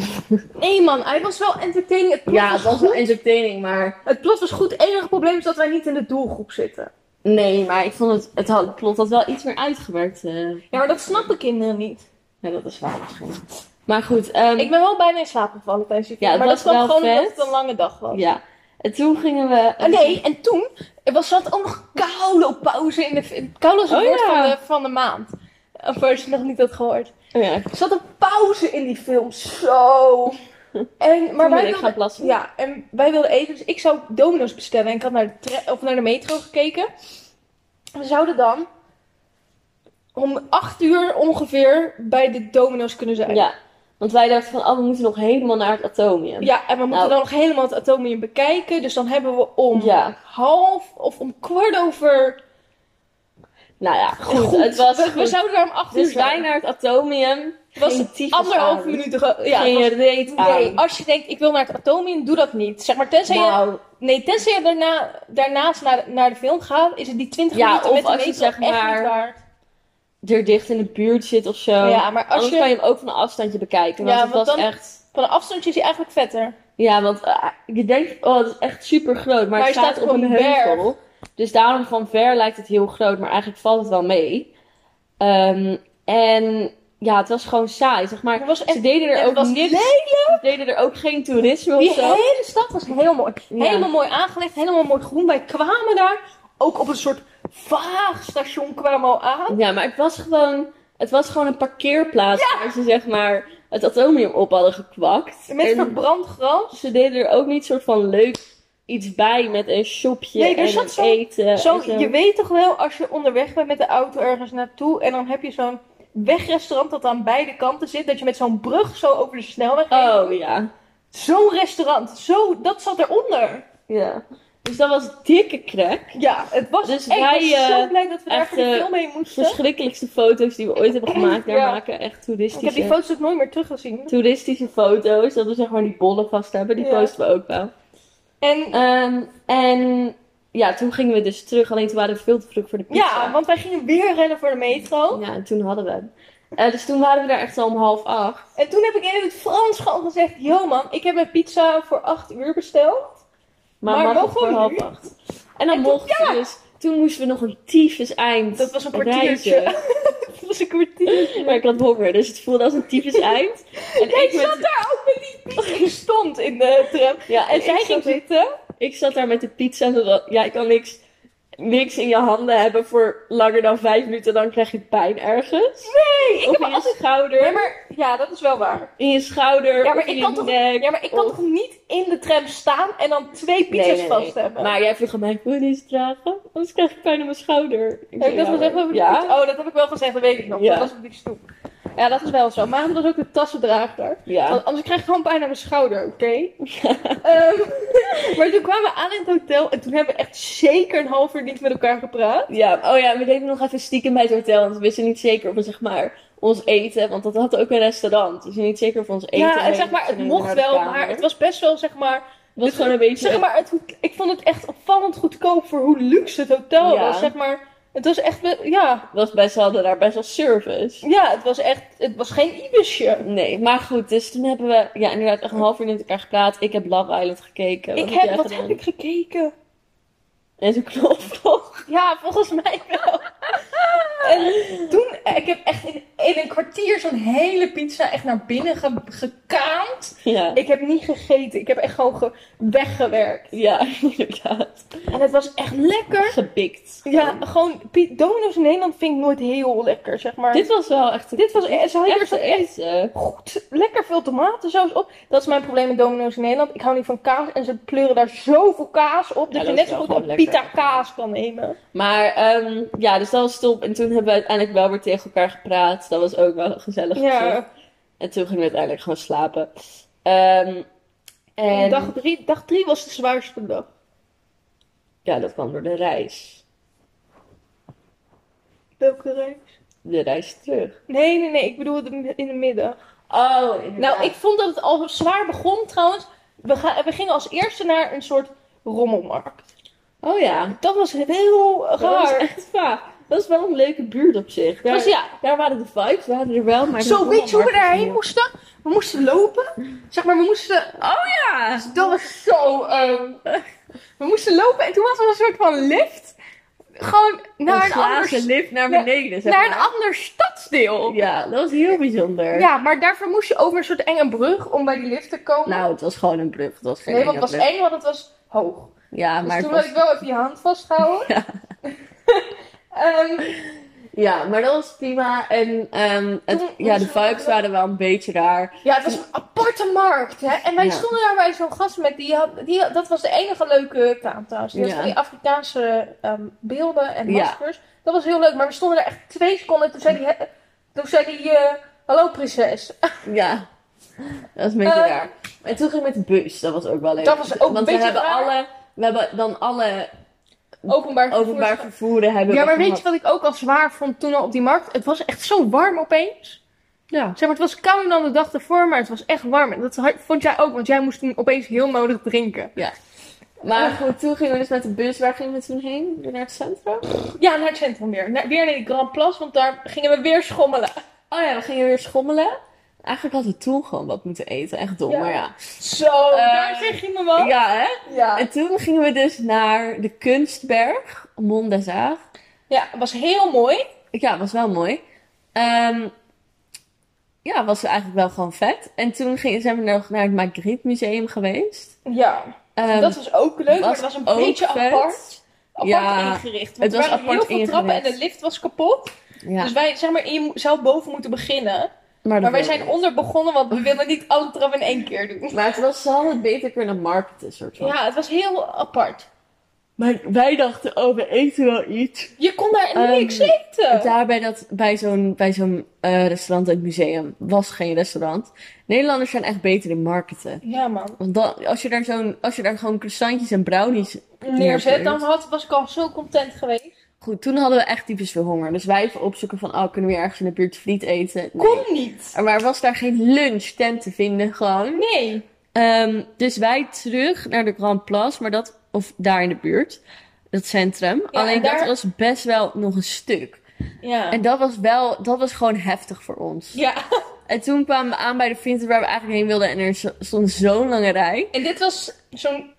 [SPEAKER 1] Nee man, hij was wel entertaining. Het plot,
[SPEAKER 2] Ja, het
[SPEAKER 1] was,
[SPEAKER 2] was
[SPEAKER 1] goed.
[SPEAKER 2] wel entertaining, maar...
[SPEAKER 1] het plot was goed. Het enige probleem is dat wij niet in de doelgroep zitten.
[SPEAKER 2] Nee, maar ik vond het, het had, het plot had wel iets meer uitgewerkt. eh.
[SPEAKER 1] Ja, maar dat snappen kinderen niet.
[SPEAKER 2] Ja, dat is waar misschien. Maar goed, ehm,
[SPEAKER 1] Ik ben wel bijna in slaap gevallen tijdens die film.
[SPEAKER 2] Ja, het
[SPEAKER 1] maar dat
[SPEAKER 2] was
[SPEAKER 1] kwam
[SPEAKER 2] wel
[SPEAKER 1] gewoon omdat
[SPEAKER 2] vet.
[SPEAKER 1] het een lange dag was.
[SPEAKER 2] ja. En toen gingen we...
[SPEAKER 1] Oh, nee, en toen er was zat ook nog Kaulo-pauze in de film. Kaulo is het
[SPEAKER 2] Oh,
[SPEAKER 1] woord
[SPEAKER 2] ja.
[SPEAKER 1] van, de, van de maand. Of als je nog niet had gehoord.
[SPEAKER 2] Oh ja,
[SPEAKER 1] Er zat een pauze in die film. Zo. En, maar
[SPEAKER 2] maar
[SPEAKER 1] wij
[SPEAKER 2] ik gaan
[SPEAKER 1] wilden,
[SPEAKER 2] plassen.
[SPEAKER 1] ja, en wij wilden eten. Dus ik zou domino's bestellen. En ik had naar de, tre- of naar de metro gekeken. We zouden dan om acht uur ongeveer bij de domino's kunnen zijn.
[SPEAKER 2] Ja, want wij dachten van, oh, we moeten nog helemaal naar het atomium.
[SPEAKER 1] Ja, en we moeten
[SPEAKER 2] Nou.
[SPEAKER 1] dan nog helemaal het atomium bekijken. Dus dan hebben we om
[SPEAKER 2] Ja.
[SPEAKER 1] half of om kwart over.
[SPEAKER 2] Nou ja, goed, het was
[SPEAKER 1] we, we
[SPEAKER 2] goed.
[SPEAKER 1] zouden daar om acht uur
[SPEAKER 2] Dus
[SPEAKER 1] zijn.
[SPEAKER 2] wij naar het atomium.
[SPEAKER 1] Het was
[SPEAKER 2] Geen tyfus
[SPEAKER 1] anderhalf
[SPEAKER 2] aan.
[SPEAKER 1] minuut. ge- Ja, het
[SPEAKER 2] Geen
[SPEAKER 1] was-
[SPEAKER 2] reet
[SPEAKER 1] nee,
[SPEAKER 2] aan.
[SPEAKER 1] als je denkt ik wil naar het atomium, doe dat niet. Zeg maar, tenzij je,
[SPEAKER 2] Nou,
[SPEAKER 1] nee, tenzij je daarna, daarnaast naar, naar de film gaat, is het die 20
[SPEAKER 2] Ja,
[SPEAKER 1] minuten
[SPEAKER 2] of
[SPEAKER 1] met de
[SPEAKER 2] als je
[SPEAKER 1] metro
[SPEAKER 2] zeg
[SPEAKER 1] echt
[SPEAKER 2] maar-
[SPEAKER 1] niet waard.
[SPEAKER 2] er dicht in de buurt zit of zo.
[SPEAKER 1] Ja, maar als
[SPEAKER 2] Anders
[SPEAKER 1] je
[SPEAKER 2] kan je hem ook van een afstandje bekijken. Want
[SPEAKER 1] Ja,
[SPEAKER 2] het
[SPEAKER 1] want
[SPEAKER 2] was
[SPEAKER 1] dan-
[SPEAKER 2] echt...
[SPEAKER 1] van een afstandje is hij eigenlijk vetter.
[SPEAKER 2] Ja, want eh, je denkt, oh, het is echt super groot. Maar,
[SPEAKER 1] hij
[SPEAKER 2] het staat,
[SPEAKER 1] staat
[SPEAKER 2] op
[SPEAKER 1] op
[SPEAKER 2] een
[SPEAKER 1] een berg.
[SPEAKER 2] heuvel. Dus daarom van ver lijkt het heel groot. Maar eigenlijk valt het wel mee. Ehm, en ja, het was gewoon saai. Zeg maar,
[SPEAKER 1] Het was echt-
[SPEAKER 2] ze deden er
[SPEAKER 1] het
[SPEAKER 2] ook
[SPEAKER 1] was
[SPEAKER 2] niks. Ze deden er ook geen toerisme
[SPEAKER 1] Die
[SPEAKER 2] of zo.
[SPEAKER 1] hele stad was heel mooi.
[SPEAKER 2] Ja.
[SPEAKER 1] Helemaal mooi aangelegd, helemaal mooi groen. Wij kwamen daar ook op een soort vaag station kwamen we al aan.
[SPEAKER 2] Ja, maar het was gewoon, het was gewoon een parkeerplaats. Waar ze zeg maar het atomium op hadden gekwakt.
[SPEAKER 1] Met
[SPEAKER 2] En
[SPEAKER 1] verbrand gras.
[SPEAKER 2] ze deden er ook niet soort van leuk iets bij met een shopje
[SPEAKER 1] Nee, er
[SPEAKER 2] en
[SPEAKER 1] zat
[SPEAKER 2] een
[SPEAKER 1] zo'n-
[SPEAKER 2] eten. en
[SPEAKER 1] Zo,
[SPEAKER 2] zo.
[SPEAKER 1] je weet toch wel, als je onderweg bent met de auto ergens naartoe en dan heb je zo'n wegrestaurant dat aan beide kanten zit, dat je met zo'n brug zo over de snelweg heen.
[SPEAKER 2] Oh ja.
[SPEAKER 1] Zo'n restaurant, zo, dat zat eronder.
[SPEAKER 2] ja. Dus dat was dikke crack.
[SPEAKER 1] Ja, het was
[SPEAKER 2] Dus
[SPEAKER 1] ik
[SPEAKER 2] wij,
[SPEAKER 1] was zo
[SPEAKER 2] eh,
[SPEAKER 1] blij dat we daar
[SPEAKER 2] echt,
[SPEAKER 1] voor de
[SPEAKER 2] eh,
[SPEAKER 1] film mee moesten.
[SPEAKER 2] Verschrikkelijkste foto's die we ooit hebben gemaakt. Daar
[SPEAKER 1] Ja.
[SPEAKER 2] maken echt
[SPEAKER 1] Ik
[SPEAKER 2] toeristische,
[SPEAKER 1] heb die foto's ook nooit meer teruggezien.
[SPEAKER 2] toeristische foto's. Dat we zeg maar die bollen vast hebben. Die
[SPEAKER 1] Ja.
[SPEAKER 2] posten we ook wel.
[SPEAKER 1] En
[SPEAKER 2] Ehm, en ja, toen gingen we dus terug. Alleen toen waren we veel te vroeg voor de pizza.
[SPEAKER 1] ja, want wij gingen weer rennen voor de metro.
[SPEAKER 2] Ja, en toen hadden we hem. Eh, dus toen waren we daar echt al om half acht.
[SPEAKER 1] En toen heb ik in het Frans gewoon gezegd: Yo man, ik heb een pizza voor 8 uur besteld.
[SPEAKER 2] Maar,
[SPEAKER 1] Maar
[SPEAKER 2] mag
[SPEAKER 1] mogen
[SPEAKER 2] het voor
[SPEAKER 1] we
[SPEAKER 2] half
[SPEAKER 1] nu?
[SPEAKER 2] acht. En dan
[SPEAKER 1] En toen-
[SPEAKER 2] mochten we dus... Toen moesten we nog een tyfus eind
[SPEAKER 1] Dat was een
[SPEAKER 2] rijden.
[SPEAKER 1] kwartiertje. Dat was een kwartier.
[SPEAKER 2] Maar ik had honger, dus het voelde als een tyfus eind. En
[SPEAKER 1] Jij
[SPEAKER 2] ik, met-
[SPEAKER 1] zat daar ook met die pizza. Ik stond in de tram.
[SPEAKER 2] ja,
[SPEAKER 1] En zij
[SPEAKER 2] ik
[SPEAKER 1] ging
[SPEAKER 2] zat,
[SPEAKER 1] zitten.
[SPEAKER 2] ik zat daar met de pizza. en zo- Ja, ik kan niks, niks in je handen hebben voor langer dan vijf minuten. Dan krijg je pijn ergens.
[SPEAKER 1] Nee, ik
[SPEAKER 2] of
[SPEAKER 1] heb
[SPEAKER 2] in je
[SPEAKER 1] altijd.
[SPEAKER 2] schouder.
[SPEAKER 1] Ja, maar, ja, dat is wel waar.
[SPEAKER 2] In je schouder,
[SPEAKER 1] Ja, maar
[SPEAKER 2] of in
[SPEAKER 1] ik
[SPEAKER 2] je
[SPEAKER 1] kan toch-
[SPEAKER 2] nek.
[SPEAKER 1] Ja, maar ik kan
[SPEAKER 2] of-
[SPEAKER 1] toch niet in de tram staan en dan twee
[SPEAKER 2] Nee,
[SPEAKER 1] pizza's
[SPEAKER 2] nee, nee.
[SPEAKER 1] vast hebben?
[SPEAKER 2] Maar jij vroeg aan mij, wil je deze dragen? Anders krijg ik pijn aan mijn schouder. Ik
[SPEAKER 1] Heb ik dat
[SPEAKER 2] wel
[SPEAKER 1] gezegd over de
[SPEAKER 2] ja.
[SPEAKER 1] pizza? Oh, dat heb ik wel gezegd, dat weet ik nog.
[SPEAKER 2] Ja.
[SPEAKER 1] Dat was op die stoep. Ja, dat is wel zo. Maar dat was ook de tassendrager.
[SPEAKER 2] Ja.
[SPEAKER 1] Want anders krijg ik gewoon pijn aan mijn schouder, oké? Ehm, maar toen kwamen we aan in het hotel en toen hebben we echt zeker een half uur niet met elkaar gepraat.
[SPEAKER 2] ja. Oh ja, we deden nog even stiekem bij het hotel. Want we wisten niet zeker of we zeg maar ons eten... Want dat had ook een restaurant. Dus niet zeker of we ons eten...
[SPEAKER 1] ja, en
[SPEAKER 2] mee
[SPEAKER 1] zeg maar, het
[SPEAKER 2] gingen
[SPEAKER 1] mocht
[SPEAKER 2] naar de
[SPEAKER 1] wel,
[SPEAKER 2] kamer.
[SPEAKER 1] maar het was best wel, zeg maar...
[SPEAKER 2] Het was gewoon een beetje...
[SPEAKER 1] Zeg maar het, goed- ik vond het echt opvallend goedkoop voor hoe luxe het hotel
[SPEAKER 2] Ja.
[SPEAKER 1] was, zeg maar. Het was echt, wel- ja,
[SPEAKER 2] was best, we hadden daar best wel service.
[SPEAKER 1] ja, het was echt, het was geen ibisje.
[SPEAKER 2] Nee, maar goed. Dus toen hebben we ja, inderdaad echt een half uur met elkaar gepraat. Ik heb Love Island gekeken.
[SPEAKER 1] Ik
[SPEAKER 2] jij
[SPEAKER 1] heb, wat
[SPEAKER 2] gedaan?
[SPEAKER 1] heb ik gekeken?
[SPEAKER 2] En zo'n knoflook.
[SPEAKER 1] Ja, volgens mij wel. En toen, eh, ik heb echt in, in een kwartier zo'n hele pizza echt naar binnen ge- gekaamd.
[SPEAKER 2] Ja.
[SPEAKER 1] Ik heb niet gegeten, ik heb echt gewoon ge- weggewerkt.
[SPEAKER 2] Ja, inderdaad.
[SPEAKER 1] En het was echt lekker.
[SPEAKER 2] Gebikt.
[SPEAKER 1] Ja, gewoon, pi- Domino's in Nederland vind ik nooit heel lekker, zeg maar.
[SPEAKER 2] Dit was wel echt...
[SPEAKER 1] Dit was, eh, ze hadden er
[SPEAKER 2] Echt,
[SPEAKER 1] zo echt
[SPEAKER 2] echt. eh,
[SPEAKER 1] goed, lekker veel tomatensaus op. Dat is mijn probleem met Domino's in Nederland. Ik hou niet van kaas en ze pleuren daar zoveel kaas op.
[SPEAKER 2] Ja,
[SPEAKER 1] Dat je
[SPEAKER 2] dat
[SPEAKER 1] net
[SPEAKER 2] is
[SPEAKER 1] zo
[SPEAKER 2] wel
[SPEAKER 1] goed
[SPEAKER 2] gewoon
[SPEAKER 1] een
[SPEAKER 2] lekker.
[SPEAKER 1] pita kaas kan nemen.
[SPEAKER 2] Maar ehm, ja, dus dat was top. En toen hebben we uiteindelijk wel weer tegen elkaar gepraat. Dat was ook wel een gezellig gezicht.
[SPEAKER 1] Ja,
[SPEAKER 2] En toen gingen we uiteindelijk gewoon slapen. Ehm, en
[SPEAKER 1] dag drie, dag drie was de zwaarste dag.
[SPEAKER 2] ja, dat kwam door de reis.
[SPEAKER 1] Welke reis?
[SPEAKER 2] De reis terug.
[SPEAKER 1] Nee, nee, nee. Ik bedoel de- in de middag.
[SPEAKER 2] Oh,
[SPEAKER 1] Nou, ik vond dat het al zwaar begon trouwens. We, ga- we gingen als eerste naar een soort rommelmarkt.
[SPEAKER 2] Oh ja.
[SPEAKER 1] Dat was heel
[SPEAKER 2] Dat was
[SPEAKER 1] raar.
[SPEAKER 2] echt vaak. Dat is wel een leuke buurt op zich. Daar,
[SPEAKER 1] Dus ja,
[SPEAKER 2] daar waren de vibes, waren er wel. Maar de
[SPEAKER 1] zo weet je hoe we
[SPEAKER 2] rommelmarkt was
[SPEAKER 1] daarheen
[SPEAKER 2] niet.
[SPEAKER 1] moesten? We moesten lopen. Zeg maar, we moesten... Oh ja! Dat was zo... ehm, We moesten lopen en toen was er een soort van lift. Gewoon naar
[SPEAKER 2] Een
[SPEAKER 1] een, ander,
[SPEAKER 2] glazen lift naar
[SPEAKER 1] naar-
[SPEAKER 2] beneden, zeg
[SPEAKER 1] naar een
[SPEAKER 2] maar.
[SPEAKER 1] ander stadsdeel. Ja.
[SPEAKER 2] Ja, dat was heel bijzonder.
[SPEAKER 1] maar daarvoor moest je over een soort enge brug om bij die lift te komen.
[SPEAKER 2] Nou, het was gewoon een brug. Het was geen
[SPEAKER 1] nee, want
[SPEAKER 2] enge
[SPEAKER 1] het was
[SPEAKER 2] brug.
[SPEAKER 1] eng, want het was hoog.
[SPEAKER 2] Ja,
[SPEAKER 1] Dus
[SPEAKER 2] maar het
[SPEAKER 1] toen
[SPEAKER 2] was...
[SPEAKER 1] wil ik wel even je hand vasthouden. Ehm,
[SPEAKER 2] Ja, maar dat was prima. En ehm, het-
[SPEAKER 1] Toen-
[SPEAKER 2] ja, de
[SPEAKER 1] toen-
[SPEAKER 2] vibes waren wel een beetje raar.
[SPEAKER 1] ja, het was een aparte markt, hè. En wij
[SPEAKER 2] Ja.
[SPEAKER 1] stonden daar bij zo'n gast met, die had, die had- dat was de enige leuke taan trouwens. Die had
[SPEAKER 2] Ja.
[SPEAKER 1] van die Afrikaanse ehm, beelden en
[SPEAKER 2] Ja.
[SPEAKER 1] maskers. Dat was heel leuk, maar we stonden daar echt twee seconden. Toen zei die, hè, toen zei die eh, hallo prinses.
[SPEAKER 2] Ja, dat was een beetje
[SPEAKER 1] Eh.
[SPEAKER 2] raar. En toen ging ik met de bus. Dat was ook wel leuk.
[SPEAKER 1] Dat was ook een
[SPEAKER 2] Want we
[SPEAKER 1] beetje
[SPEAKER 2] hebben
[SPEAKER 1] raar.
[SPEAKER 2] alle... We hebben dan alle
[SPEAKER 1] Openbaar vervoer.
[SPEAKER 2] openbaar vervoeren hebben
[SPEAKER 1] Ja,
[SPEAKER 2] we
[SPEAKER 1] maar weet
[SPEAKER 2] gehad.
[SPEAKER 1] je wat ik ook al zwaar vond toen al op die markt? Het was echt zo warm opeens.
[SPEAKER 2] Ja.
[SPEAKER 1] Zeg maar, het was kouder dan de dag ervoor, maar het was echt warm. En dat had- vond jij ook, want jij moest toen opeens heel nodig drinken.
[SPEAKER 2] Maar
[SPEAKER 1] Oh.
[SPEAKER 2] goed, toen gingen we dus met de bus. Waar gingen we toen heen? Weer naar het centrum?
[SPEAKER 1] Ja, naar het centrum weer. Naar, weer naar die Grand Place, want daar gingen we weer schommelen.
[SPEAKER 2] Oh ja, we gingen weer schommelen. Eigenlijk hadden we toen gewoon wat moeten eten. Echt dom,
[SPEAKER 1] Ja.
[SPEAKER 2] maar ja.
[SPEAKER 1] Zo,
[SPEAKER 2] Eh,
[SPEAKER 1] daar zeg je me wat.
[SPEAKER 2] Ja, hè?
[SPEAKER 1] Ja.
[SPEAKER 2] En toen gingen we dus naar de Kunstberg. Mont des Arts.
[SPEAKER 1] ja, het was heel mooi.
[SPEAKER 2] Ja, was wel mooi. Ehm, ja, was eigenlijk wel gewoon vet. En toen ging, zijn we nog naar het Magritte Museum geweest.
[SPEAKER 1] Ja,
[SPEAKER 2] Ehm,
[SPEAKER 1] dat was ook leuk, maar
[SPEAKER 2] was
[SPEAKER 1] het was een
[SPEAKER 2] ook
[SPEAKER 1] beetje
[SPEAKER 2] vet.
[SPEAKER 1] apart. Apart
[SPEAKER 2] Ja,
[SPEAKER 1] ingericht.
[SPEAKER 2] het
[SPEAKER 1] Want er
[SPEAKER 2] was
[SPEAKER 1] waren
[SPEAKER 2] apart
[SPEAKER 1] heel veel trappen en
[SPEAKER 2] ingericht.
[SPEAKER 1] de lift was kapot.
[SPEAKER 2] ja.
[SPEAKER 1] Dus wij, zeg maar, je mo- zou boven moeten beginnen.
[SPEAKER 2] Maar,
[SPEAKER 1] Maar
[SPEAKER 2] dat
[SPEAKER 1] wij
[SPEAKER 2] weet ik
[SPEAKER 1] zijn
[SPEAKER 2] niet.
[SPEAKER 1] onder begonnen, want we wilden niet alle trap in één keer doen.
[SPEAKER 2] Maar het was, ze hadden het beter kunnen marketen, soort van.
[SPEAKER 1] Ja, het was heel apart.
[SPEAKER 2] Maar wij dachten, oh, we eten wel iets.
[SPEAKER 1] Je kon daar
[SPEAKER 2] Ehm,
[SPEAKER 1] niks eten.
[SPEAKER 2] Daar bij, dat, bij zo'n, bij zo'n eh, restaurant in het museum was geen restaurant. Nederlanders zijn echt beter in marketen.
[SPEAKER 1] Ja, man.
[SPEAKER 2] Want dan, als, je daar zo'n, als je daar gewoon croissantjes en brownies
[SPEAKER 1] Neerzet, dan had, was ik al zo content geweest.
[SPEAKER 2] Goed, toen hadden we echt typisch veel honger. Dus wij even opzoeken van, oh, kunnen we hier ergens in de buurt friet eten? Nee.
[SPEAKER 1] Kon niet.
[SPEAKER 2] Maar er was daar geen lunchtent te vinden gewoon.
[SPEAKER 1] Nee.
[SPEAKER 2] Ehm, dus wij terug naar de Grand Place, maar dat, of daar in de buurt, dat centrum.
[SPEAKER 1] Ja,
[SPEAKER 2] Alleen
[SPEAKER 1] en daar-
[SPEAKER 2] dat was best wel nog een stuk.
[SPEAKER 1] Ja.
[SPEAKER 2] En dat was wel, dat was gewoon heftig voor ons.
[SPEAKER 1] Ja.
[SPEAKER 2] En toen kwamen we aan bij de Vinter waar we eigenlijk heen wilden en er zo- stond zo'n lange rij.
[SPEAKER 1] En dit was zo'n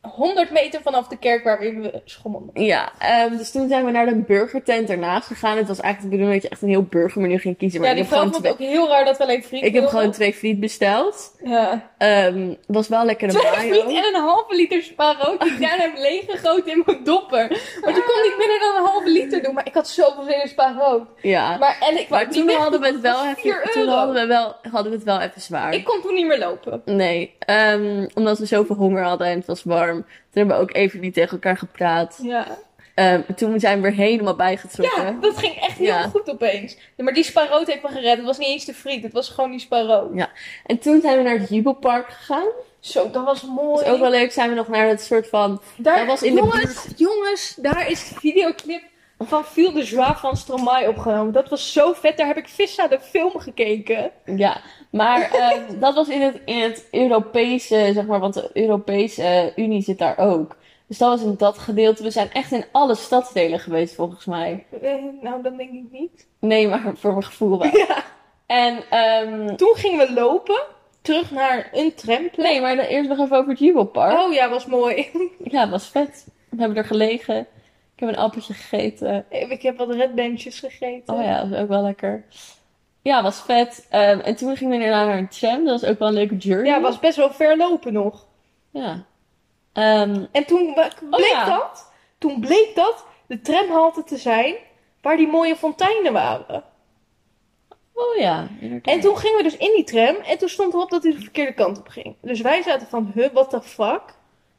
[SPEAKER 1] 100 meter vanaf de kerk waar we schommelden.
[SPEAKER 2] Ja, ehm, dus toen zijn we naar de burgertent ernaast gegaan. Het was eigenlijk de bedoeling dat je echt een heel burgermenu ging kiezen. Maar
[SPEAKER 1] Ja, die
[SPEAKER 2] ik heb gewoon
[SPEAKER 1] vrouw vond
[SPEAKER 2] twee-
[SPEAKER 1] het ook heel raar dat we alleen friet
[SPEAKER 2] Ik heb gewoon
[SPEAKER 1] wilden.
[SPEAKER 2] twee friet besteld.
[SPEAKER 1] Ja.
[SPEAKER 2] Ehm, was wel lekker
[SPEAKER 1] Twee friet
[SPEAKER 2] mayo.
[SPEAKER 1] en een halve liter spaarrood
[SPEAKER 2] Ah.
[SPEAKER 1] die ik daarna heb leeggegoten in mijn dopper. Want ik kon niet minder dan een halve liter doen, maar ik had zoveel zin in spaarrood.
[SPEAKER 2] Ja.
[SPEAKER 1] Maar en ik wou
[SPEAKER 2] Maar
[SPEAKER 1] niet
[SPEAKER 2] toen
[SPEAKER 1] weg,
[SPEAKER 2] hadden we het wel
[SPEAKER 1] was 4
[SPEAKER 2] even, toen
[SPEAKER 1] euro.
[SPEAKER 2] hadden we wel, hadden we het wel even zwaar.
[SPEAKER 1] Ik kon toen niet meer lopen.
[SPEAKER 2] Nee, ehm, omdat we zoveel honger hadden en het was warm. Toen hebben we ook even niet tegen elkaar gepraat.
[SPEAKER 1] Ja.
[SPEAKER 2] Ehm, toen zijn we er helemaal bijgetrokken.
[SPEAKER 1] ja, dat ging echt heel
[SPEAKER 2] Ja.
[SPEAKER 1] goed opeens. Ja, maar die spaarrood heeft me gered. Het was niet eens de friet, het was gewoon die spaarrood.
[SPEAKER 2] En toen zijn we naar het Jubelpark gegaan.
[SPEAKER 1] Zo, dat was mooi.
[SPEAKER 2] Dat is ook wel leuk. Zijn we nog naar het soort van...
[SPEAKER 1] Daar,
[SPEAKER 2] Dat was in de
[SPEAKER 1] jongens, jongens, daar is de videoclip van Viel de Joie van Stromae opgenomen. Dat was zo vet. Daar heb ik Vissa de film gekeken.
[SPEAKER 2] Ja, maar ehm, dat was in het, in het Europese, zeg maar. Want de Europese eh, Unie zit daar ook. Dus dat was in dat gedeelte. We zijn echt in alle stadsdelen geweest volgens mij.
[SPEAKER 1] Eh, nou, dat denk ik niet.
[SPEAKER 2] Nee, maar voor mijn gevoel wel.
[SPEAKER 1] Ja.
[SPEAKER 2] En ehm,
[SPEAKER 1] Toen gingen we lopen terug naar een tramplek.
[SPEAKER 2] nee, maar dan eerst nog even over het Jubelpark.
[SPEAKER 1] Oh ja, was mooi.
[SPEAKER 2] Ja, het was vet. We hebben er gelegen. Ik heb een appeltje gegeten.
[SPEAKER 1] Ik heb wat redbandjes gegeten.
[SPEAKER 2] Oh ja, dat was ook wel lekker. Ja, het was vet. Ehm, en toen gingen we daarna naar een tram. Dat was ook wel een leuke journey.
[SPEAKER 1] Ja, was best wel ver lopen nog.
[SPEAKER 2] Ja. Ehm,
[SPEAKER 1] En toen wa- bleek
[SPEAKER 2] ja.
[SPEAKER 1] dat, toen bleek dat de tramhalte te zijn waar die mooie fonteinen waren.
[SPEAKER 2] oh ja, inderdaad.
[SPEAKER 1] En toen gingen we dus in die tram en toen stond erop dat hij de verkeerde kant op ging. Dus wij zaten van, huh, what the fuck?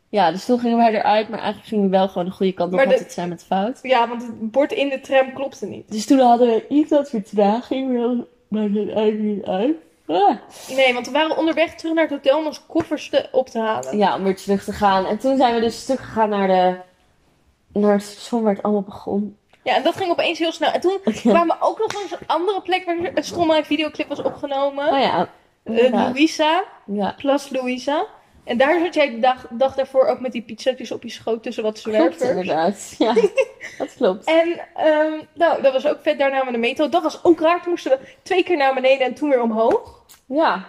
[SPEAKER 2] Ja, dus toen gingen wij eruit. Maar eigenlijk gingen we wel gewoon de goede kant op.
[SPEAKER 1] Maar
[SPEAKER 2] want
[SPEAKER 1] de-
[SPEAKER 2] het zijn met fout.
[SPEAKER 1] Ja, want het bord in de tram klopte niet.
[SPEAKER 2] Dus toen hadden we iets wat vertraging. maar- Maar het eigenlijk niet uit. Ah.
[SPEAKER 1] Nee, want we waren onderweg terug naar het hotel om onze koffers te- op te halen.
[SPEAKER 2] Ja, om weer terug te gaan. En toen zijn we dus teruggegaan naar de... Naar het station waar het allemaal begon.
[SPEAKER 1] Ja, en dat ging opeens heel snel. En toen kwamen we ook nog langs een andere plek waar een Stromae videoclip was opgenomen.
[SPEAKER 2] Oh ja.
[SPEAKER 1] Eh,
[SPEAKER 2] inderdaad.
[SPEAKER 1] Louisa,
[SPEAKER 2] Ja.
[SPEAKER 1] plus Louisa. En daar zat jij de dag, dag daarvoor ook met die pizzatjes op je schoot tussen wat
[SPEAKER 2] Klopt
[SPEAKER 1] zwervers.
[SPEAKER 2] inderdaad. Ja, dat klopt.
[SPEAKER 1] En ehm, nou, dat was ook vet. Daar namen we de metro. Dat was ook raar. Toen moesten we twee keer naar beneden en toen weer omhoog.
[SPEAKER 2] Ja.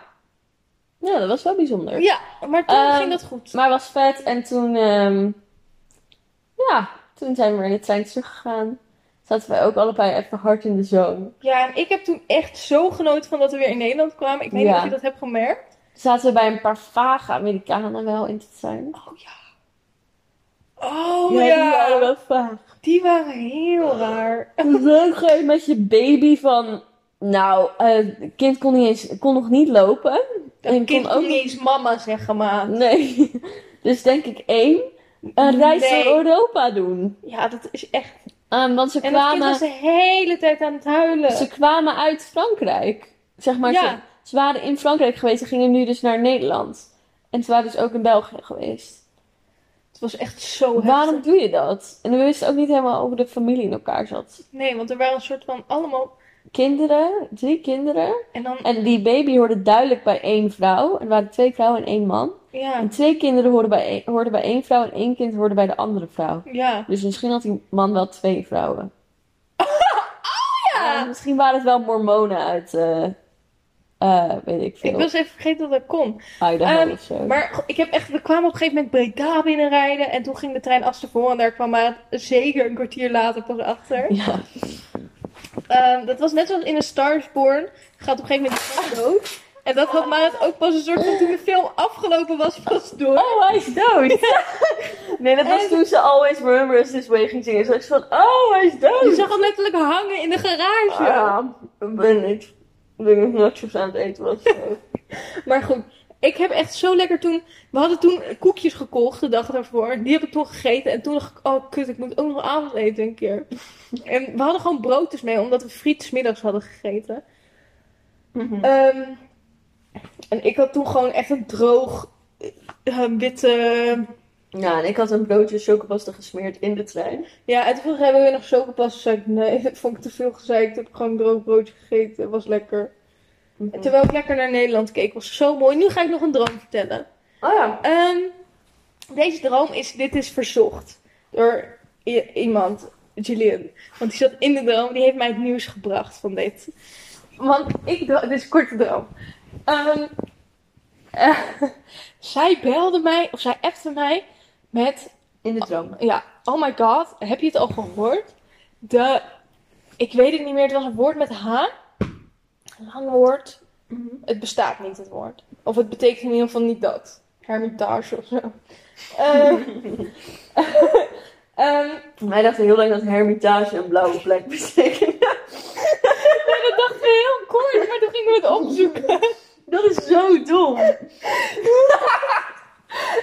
[SPEAKER 2] Ja, dat was wel bijzonder.
[SPEAKER 1] Ja, maar toen
[SPEAKER 2] Ehm,
[SPEAKER 1] ging dat goed.
[SPEAKER 2] Maar het was vet. En toen, ehm, ja, toen zijn we weer in de trein teruggegaan. Zaten wij ook allebei even hard in de zone.
[SPEAKER 1] Ja, en ik heb toen echt zo genoten van dat we weer in Nederland kwamen. Ik weet niet
[SPEAKER 2] Ja.
[SPEAKER 1] of je dat hebt gemerkt.
[SPEAKER 2] Zaten we bij een paar vage Amerikanen wel in de trein.
[SPEAKER 1] Oh ja. Oh
[SPEAKER 2] ja,
[SPEAKER 1] ja.
[SPEAKER 2] die waren wel vaag.
[SPEAKER 1] Die waren heel raar.
[SPEAKER 2] Leuk gewoon met je baby van... Nou, eh, het kind kon, niet eens, kon nog niet lopen.
[SPEAKER 1] Dat
[SPEAKER 2] En
[SPEAKER 1] kind
[SPEAKER 2] kon
[SPEAKER 1] kon
[SPEAKER 2] ook
[SPEAKER 1] niet eens mama zeggen, maar.
[SPEAKER 2] Nee. Dus denk ik één, een reis
[SPEAKER 1] Nee.
[SPEAKER 2] door Europa doen.
[SPEAKER 1] Ja, dat is echt...
[SPEAKER 2] Ehm, want ze
[SPEAKER 1] En dat kind
[SPEAKER 2] kwamen...
[SPEAKER 1] was de hele tijd aan het huilen.
[SPEAKER 2] Ze kwamen uit Frankrijk. Zeg maar,
[SPEAKER 1] Ja.
[SPEAKER 2] ze, ze waren in Frankrijk geweest. Ze gingen nu dus naar Nederland. En ze waren dus ook in België geweest.
[SPEAKER 1] Het was echt zo heftig.
[SPEAKER 2] Waarom doe je dat? En we wisten ook niet helemaal hoe de familie in elkaar zat.
[SPEAKER 1] Nee, want er waren een soort van allemaal...
[SPEAKER 2] Kinderen, drie kinderen.
[SPEAKER 1] En dan...
[SPEAKER 2] En die baby hoorde duidelijk bij één vrouw. Er waren twee vrouwen en één man.
[SPEAKER 1] Ja.
[SPEAKER 2] En twee kinderen hoorden bij één, hoorden bij één vrouw en één kind hoorde bij de andere vrouw.
[SPEAKER 1] Ja.
[SPEAKER 2] Dus misschien had die man wel twee vrouwen.
[SPEAKER 1] Oh, ja.
[SPEAKER 2] En misschien waren het wel mormonen uit, eh, eh, weet ik
[SPEAKER 1] Ik
[SPEAKER 2] veel,
[SPEAKER 1] was even vergeten dat dat kon.
[SPEAKER 2] Idaho
[SPEAKER 1] Ehm,
[SPEAKER 2] of zo.
[SPEAKER 1] Maar go- ik heb echt, we kwamen op een gegeven moment Breda binnenrijden. En toen ging de trein als tevoren. En daar kwam maar zeker een kwartier later pas achter.
[SPEAKER 2] Ja.
[SPEAKER 1] Ehm, dat was net zoals in een Starsborn. Gaat op een gegeven moment de man dood. En dat had Marit ook pas een soort van toen de film afgelopen was pas door.
[SPEAKER 2] Oh, hij is dood. Oh, nee, dat was
[SPEAKER 1] En-
[SPEAKER 2] toen ze Always Remember Us This Way ging zingen. Ze was van, oh, hij is
[SPEAKER 1] Je
[SPEAKER 2] dood.
[SPEAKER 1] zag hem letterlijk hangen in de garage.
[SPEAKER 2] Ah, ben ik. ben ik nog nachos aan het eten was.
[SPEAKER 1] Maar goed, ik heb echt zo lekker toen... We hadden toen koekjes gekocht de dag daarvoor. Die heb ik toen gegeten. En toen dacht ik, oh kut, ik moet ook nog avondeten een keer. En we hadden gewoon broodjes mee, omdat we friet 's middags hadden gegeten.
[SPEAKER 2] Mhm.
[SPEAKER 1] Ehm, en ik had toen gewoon echt een droog eh, witte...
[SPEAKER 2] Ja, en ik had een broodje chocopasta gesmeerd in de trein.
[SPEAKER 1] Ja, en toen vroeg hebben we nog chocopas. Toen zei ik, nee, dat vond ik te veel gezeik. Toen heb ik gewoon een droog broodje gegeten. was lekker. En terwijl ik lekker naar Nederland keek, was zo mooi. Nu ga ik nog een droom vertellen.
[SPEAKER 2] Oh ja.
[SPEAKER 1] Ehm, deze droom is, dit is verzocht door i- iemand, Jillian. Want die zat in de droom, die heeft mij het nieuws gebracht van dit. Want ik, dro- dit is een korte droom. Ehm, eh, zij belde mij, of zij appte mij met
[SPEAKER 2] In de droom.
[SPEAKER 1] ja, oh my god, heb je het al gehoord? De, ik weet het niet meer, het was een woord met H. Een lang woord.
[SPEAKER 2] Mhm.
[SPEAKER 1] Het bestaat niet, het woord. Of het betekent in ieder geval niet dat. Hermitage of zo. Ehm, ehm,
[SPEAKER 2] Wij dachten heel lang dat hermitage een blauwe plek betekent.
[SPEAKER 1] nee, dat dachten we heel kort, maar toen gingen we het opzoeken.
[SPEAKER 2] Dat is zo dom.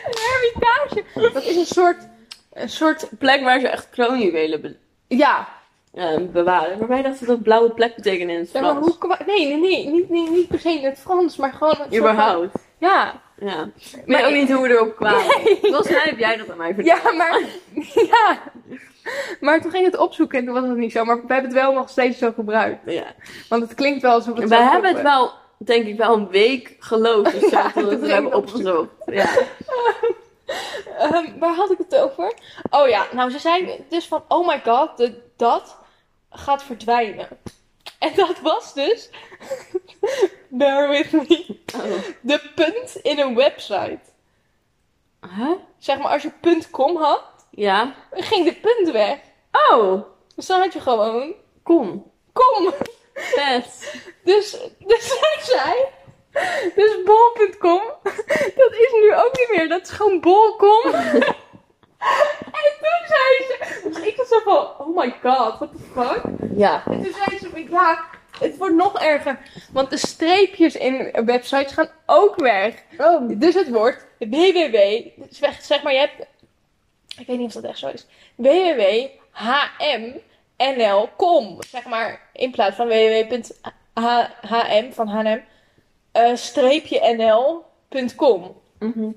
[SPEAKER 1] Een hermitage. Dat is een soort,
[SPEAKER 2] Een soort plek waar ze echt kroonjuwelen be-
[SPEAKER 1] ja.
[SPEAKER 2] eh, bewaren. Maar wij dachten dat blauwe plek betekende in het
[SPEAKER 1] ja maar
[SPEAKER 2] Frans.
[SPEAKER 1] hoe, kwa- nee, nee, nee, niet, niet, niet per se in het Frans, maar gewoon... een soort van-
[SPEAKER 2] Überhaupt.
[SPEAKER 1] Ja.
[SPEAKER 2] Ja. Ik weet ook niet hoe we erop kwamen. Volgens mij heb jij dat aan mij verteld.
[SPEAKER 1] Ja, maar. Ja. Maar toen ging het opzoeken en toen was het niet zo. Maar we hebben het wel nog steeds zo gebruikt.
[SPEAKER 2] Ja.
[SPEAKER 1] Want het klinkt wel alsof het.
[SPEAKER 2] We
[SPEAKER 1] zo
[SPEAKER 2] hebben het
[SPEAKER 1] kloppen.
[SPEAKER 2] wel, denk ik, wel een week geloofd. of zo,
[SPEAKER 1] Ja,
[SPEAKER 2] dat we
[SPEAKER 1] dat
[SPEAKER 2] het hebben
[SPEAKER 1] ging
[SPEAKER 2] opgezocht. Ja.
[SPEAKER 1] Ehm, waar had ik het over? Oh ja, nou ze zei dus van: oh my god, de, dat gaat verdwijnen. En dat was dus. Bear with me.
[SPEAKER 2] Oh.
[SPEAKER 1] De punt in een website.
[SPEAKER 2] Huh?
[SPEAKER 1] Zeg maar, als je punt .com had,
[SPEAKER 2] Ja.
[SPEAKER 1] ging de punt weg.
[SPEAKER 2] Oh,
[SPEAKER 1] Dus dan had je gewoon.
[SPEAKER 2] kom.
[SPEAKER 1] Kom!
[SPEAKER 2] Vet.
[SPEAKER 1] Dus, dus zij zei. Dus bol.com, dat is nu ook niet meer. Dat is gewoon bol.com. en toen zei ze. Dus ik was zo van: oh my god, what the fuck.
[SPEAKER 2] Ja.
[SPEAKER 1] En toen zei ze: van, ja, het wordt nog erger. Want de streepjes in websites gaan ook weg.
[SPEAKER 2] Oh.
[SPEAKER 1] Dus het wordt www. Dus weg- zeg maar, je hebt. Ik weet niet of dat echt zo is. www.hm.nl.com. Zeg maar, in plaats van www.hm van HM. eh, streepje nl.com.
[SPEAKER 2] Mhm.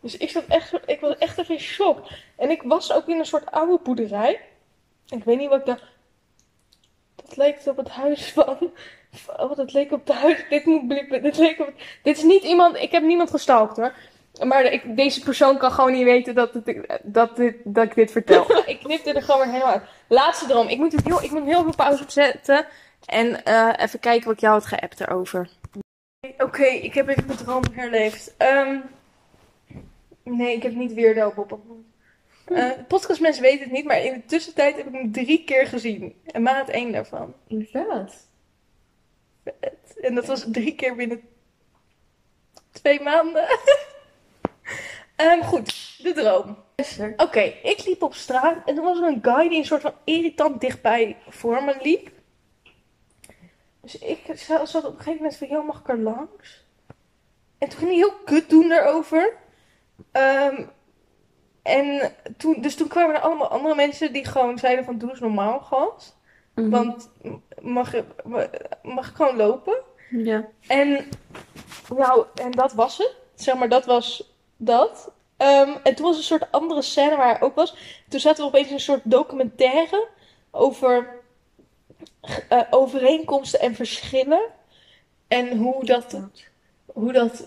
[SPEAKER 1] Dus ik, zat echt, zo- ik was echt even in shock. En ik was ook in een soort oude boerderij. Ik weet niet wat ik dacht. Dat lijkt op het huis van. Oh, dat leek op het huis. Dit moet blippen. Dit leek op het- Dit is niet iemand. Ik heb niemand gestalkt hoor. Maar ik, deze persoon kan gewoon niet weten dat, het, dat, dit, dat ik dit vertel. ik knip dit er gewoon weer helemaal uit. Laatste droom. Ik moet, het heel, ik moet heel veel pauze opzetten. En eh, even kijken wat ik jou had geappt erover. Oké, ik heb even mijn droom herleefd. Ehm, nee, ik heb niet Weirdo Bob ontmoet. Eh, podcastmensen weten het niet, maar in de tussentijd heb ik hem drie keer gezien. En maar het één daarvan.
[SPEAKER 2] Inderdaad.
[SPEAKER 1] En dat was drie keer binnen twee maanden. Ehm, goed, de droom. Oké, ik liep op straat en toen was er een guy die een soort van irritant dichtbij voor me liep. Dus ik za- zat op een gegeven moment van, joh, mag ik er langs? En toen ging hij heel kut doen daarover. Ehm, en toen, dus toen kwamen er allemaal andere mensen die gewoon zeiden van, doe eens normaal, gast.
[SPEAKER 2] Want...
[SPEAKER 1] Want m- mag, ik- ma- mag ik gewoon lopen?
[SPEAKER 2] Ja.
[SPEAKER 1] En, nou, en dat was het. Zeg maar, dat was dat. Ehm, en toen was een soort andere scène waar hij ook was. Toen zaten we opeens in een soort documentaire over eh, overeenkomsten en verschillen. En hoe dat, hoe dat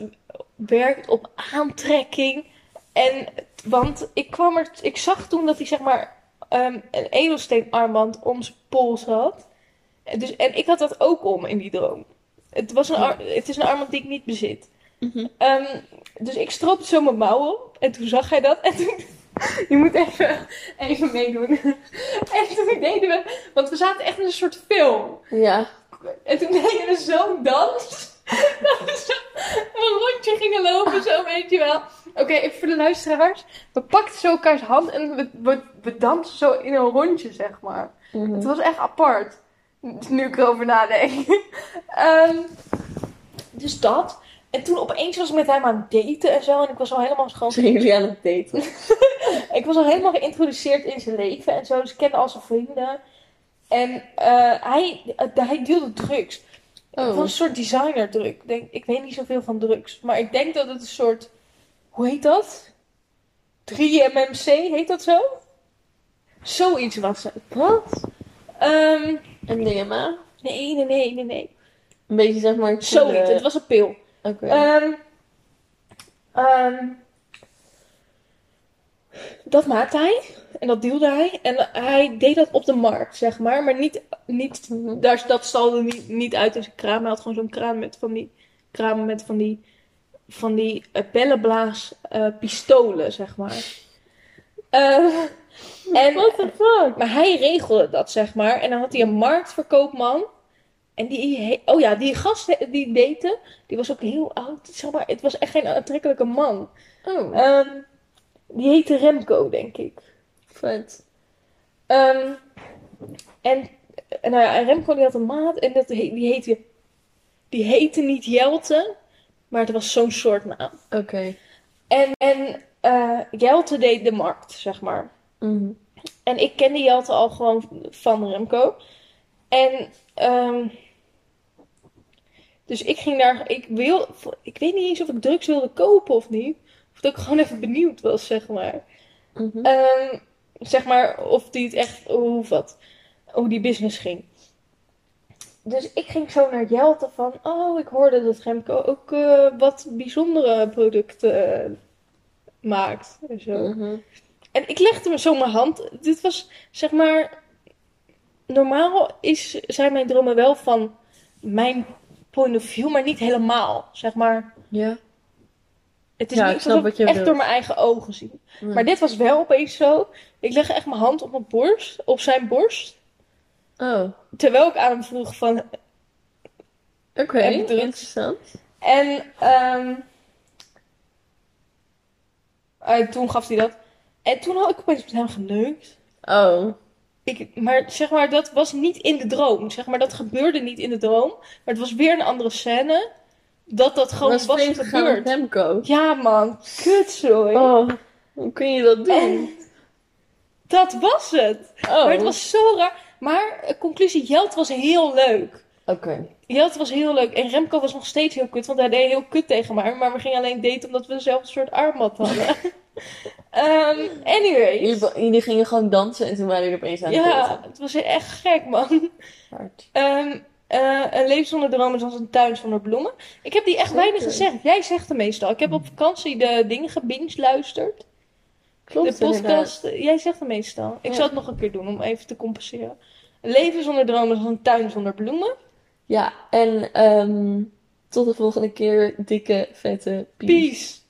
[SPEAKER 1] werkt op aantrekking. En, want ik kwam er, ik zag toen dat hij zeg maar ehm, een edelsteenarmband om zijn pols had. En Dus, en ik had dat ook om in die droom. Het, was een ar- het is een armband die ik niet bezit.
[SPEAKER 2] Mhm.
[SPEAKER 1] Ehm, dus ik stroopte zo mijn mouwen op. En toen zag hij dat. En toen... Je moet even, even meedoen. En toen deden we... Want we zaten echt in een soort film.
[SPEAKER 2] Ja.
[SPEAKER 1] En toen deden we zo'n dans. Dat we zo een rondje gingen lopen, zo weet je wel. Oké, even voor de luisteraars. We pakten zo elkaars hand en we, we, we dansten zo in
[SPEAKER 2] Mhm.
[SPEAKER 1] een rondje, zeg maar. Het was echt apart. Nu ik erover nadenk. Ehm, Ehm, dus dat. En toen opeens was ik met hem aan het daten en zo. En ik was al helemaal gewoon...
[SPEAKER 2] Zijn jullie aan het daten?
[SPEAKER 1] Ik was al helemaal geïntroduceerd in zijn leven en zo. Dus ik kende al zijn vrienden. En eh, hij, eh, hij deelde drugs.
[SPEAKER 2] Oh.
[SPEAKER 1] Het was een soort designer drug. Ik, denk, ik weet niet zoveel van drugs. Maar ik denk dat het een soort... Hoe heet dat? 3MMC, heet dat zo? Zoiets was het.
[SPEAKER 2] Wat?
[SPEAKER 1] Ehm,
[SPEAKER 2] Een DMA?
[SPEAKER 1] nee, nee, nee, nee, nee.
[SPEAKER 2] Een eh. beetje zeg maar...
[SPEAKER 1] Zoiets, het
[SPEAKER 2] Oké.
[SPEAKER 1] was een pil.
[SPEAKER 2] Eh.
[SPEAKER 1] Ehm, ehm, dat maakte hij. En dat deelde hij. En hij deed dat op de markt, zeg maar. Maar niet, niet
[SPEAKER 2] Mhm.
[SPEAKER 1] daar, dat stalde niet, niet uit in zijn kraam. Hij had gewoon zo'n kraam met van die, kraam met van die, van die eh, bellenblaas eh, pistolen, zeg maar. Eh, en,
[SPEAKER 2] What the fuck?
[SPEAKER 1] maar hij regelde dat, zeg maar. En dan had hij een marktverkoopman. En die, he- oh ja, die gast he- die date, die was ook heel oud. Zeg maar, het was echt geen aantrekkelijke man.
[SPEAKER 2] Oh,
[SPEAKER 1] Ehm, die heette Remco, denk ik.
[SPEAKER 2] vet.
[SPEAKER 1] Ehm, en, en nou ja, en Remco die had een maat en dat, he- die, heette, die heette niet Jelte, maar het was zo'n soort naam.
[SPEAKER 2] Oké.
[SPEAKER 1] En, en eh, Jelte deed de markt, zeg maar.
[SPEAKER 2] Mhm.
[SPEAKER 1] En ik kende Jelte al gewoon van Remco. En ehm, dus ik ging daar. Ik, wil, ik weet niet eens of ik drugs wilde kopen of niet. Of dat ik gewoon even benieuwd was, zeg maar.
[SPEAKER 2] Mhm.
[SPEAKER 1] Ehm, zeg maar of die het echt. Hoe wat. Hoe die business ging. Dus ik ging zo naar Jelte van. Oh, ik hoorde dat Remco ook eh, wat bijzondere producten eh, maakt. En zo.
[SPEAKER 2] Mhm.
[SPEAKER 1] En ik legde me zo mijn hand. Dit was zeg maar. Normaal is, zijn mijn dromen wel van mijn point of view, maar niet helemaal. Zeg maar.
[SPEAKER 2] Ja.
[SPEAKER 1] Het is
[SPEAKER 2] Ja,
[SPEAKER 1] niet
[SPEAKER 2] ik snap
[SPEAKER 1] alsof
[SPEAKER 2] wat je
[SPEAKER 1] echt
[SPEAKER 2] bedoelt.
[SPEAKER 1] door mijn eigen ogen zie.
[SPEAKER 2] Nee.
[SPEAKER 1] Maar dit was wel opeens zo. Ik leg echt mijn hand op mijn borst, op zijn borst.
[SPEAKER 2] Oh, oké.
[SPEAKER 1] Terwijl ik aan hem vroeg van. En drugs.
[SPEAKER 2] Interessant.
[SPEAKER 1] En ehm, eh, toen gaf hij dat. En toen had ik opeens met hem geneukt.
[SPEAKER 2] Oh.
[SPEAKER 1] Ik, maar zeg maar, dat was niet in de droom. Zeg maar, dat gebeurde niet in de droom. Maar het was weer een andere scène. Dat dat gewoon was,
[SPEAKER 2] was vreemd gegaan met
[SPEAKER 1] gebeurd.
[SPEAKER 2] Remco.
[SPEAKER 1] Ja, man. Kutzooi.
[SPEAKER 2] Oh, hoe kun je dat doen?
[SPEAKER 1] Dat was het.
[SPEAKER 2] Oh,
[SPEAKER 1] Eh, Maar het was zo raar. Maar, eh, conclusie, Jelt was heel leuk.
[SPEAKER 2] oké.
[SPEAKER 1] Jelt was heel leuk. En Remco was nog steeds heel kut. Want hij deed heel kut tegen mij. Maar we gingen alleen daten omdat we dezelfde soort armband hadden. Ehm anyways.
[SPEAKER 2] Jullie, jullie gingen gewoon dansen en toen waren jullie opeens aan het
[SPEAKER 1] Ja, het was echt gek, man. Ehm, eh, een leven zonder dromen is als een tuin zonder bloemen. Ik heb die echt
[SPEAKER 2] Zeker. Hmm.
[SPEAKER 1] weinig gezegd. Jij zegt hem meestal. Ik heb op vakantie de dingen gebinge luisterd.
[SPEAKER 2] Klopt,
[SPEAKER 1] de podcast. eh, Jij zegt hem meestal. Ik
[SPEAKER 2] Ja.
[SPEAKER 1] zal het nog een keer doen om even te compenseren. Een leven zonder dromen is als een tuin zonder bloemen.
[SPEAKER 2] Ja, en ehm, tot de volgende keer. Dikke, vette
[SPEAKER 1] Peace.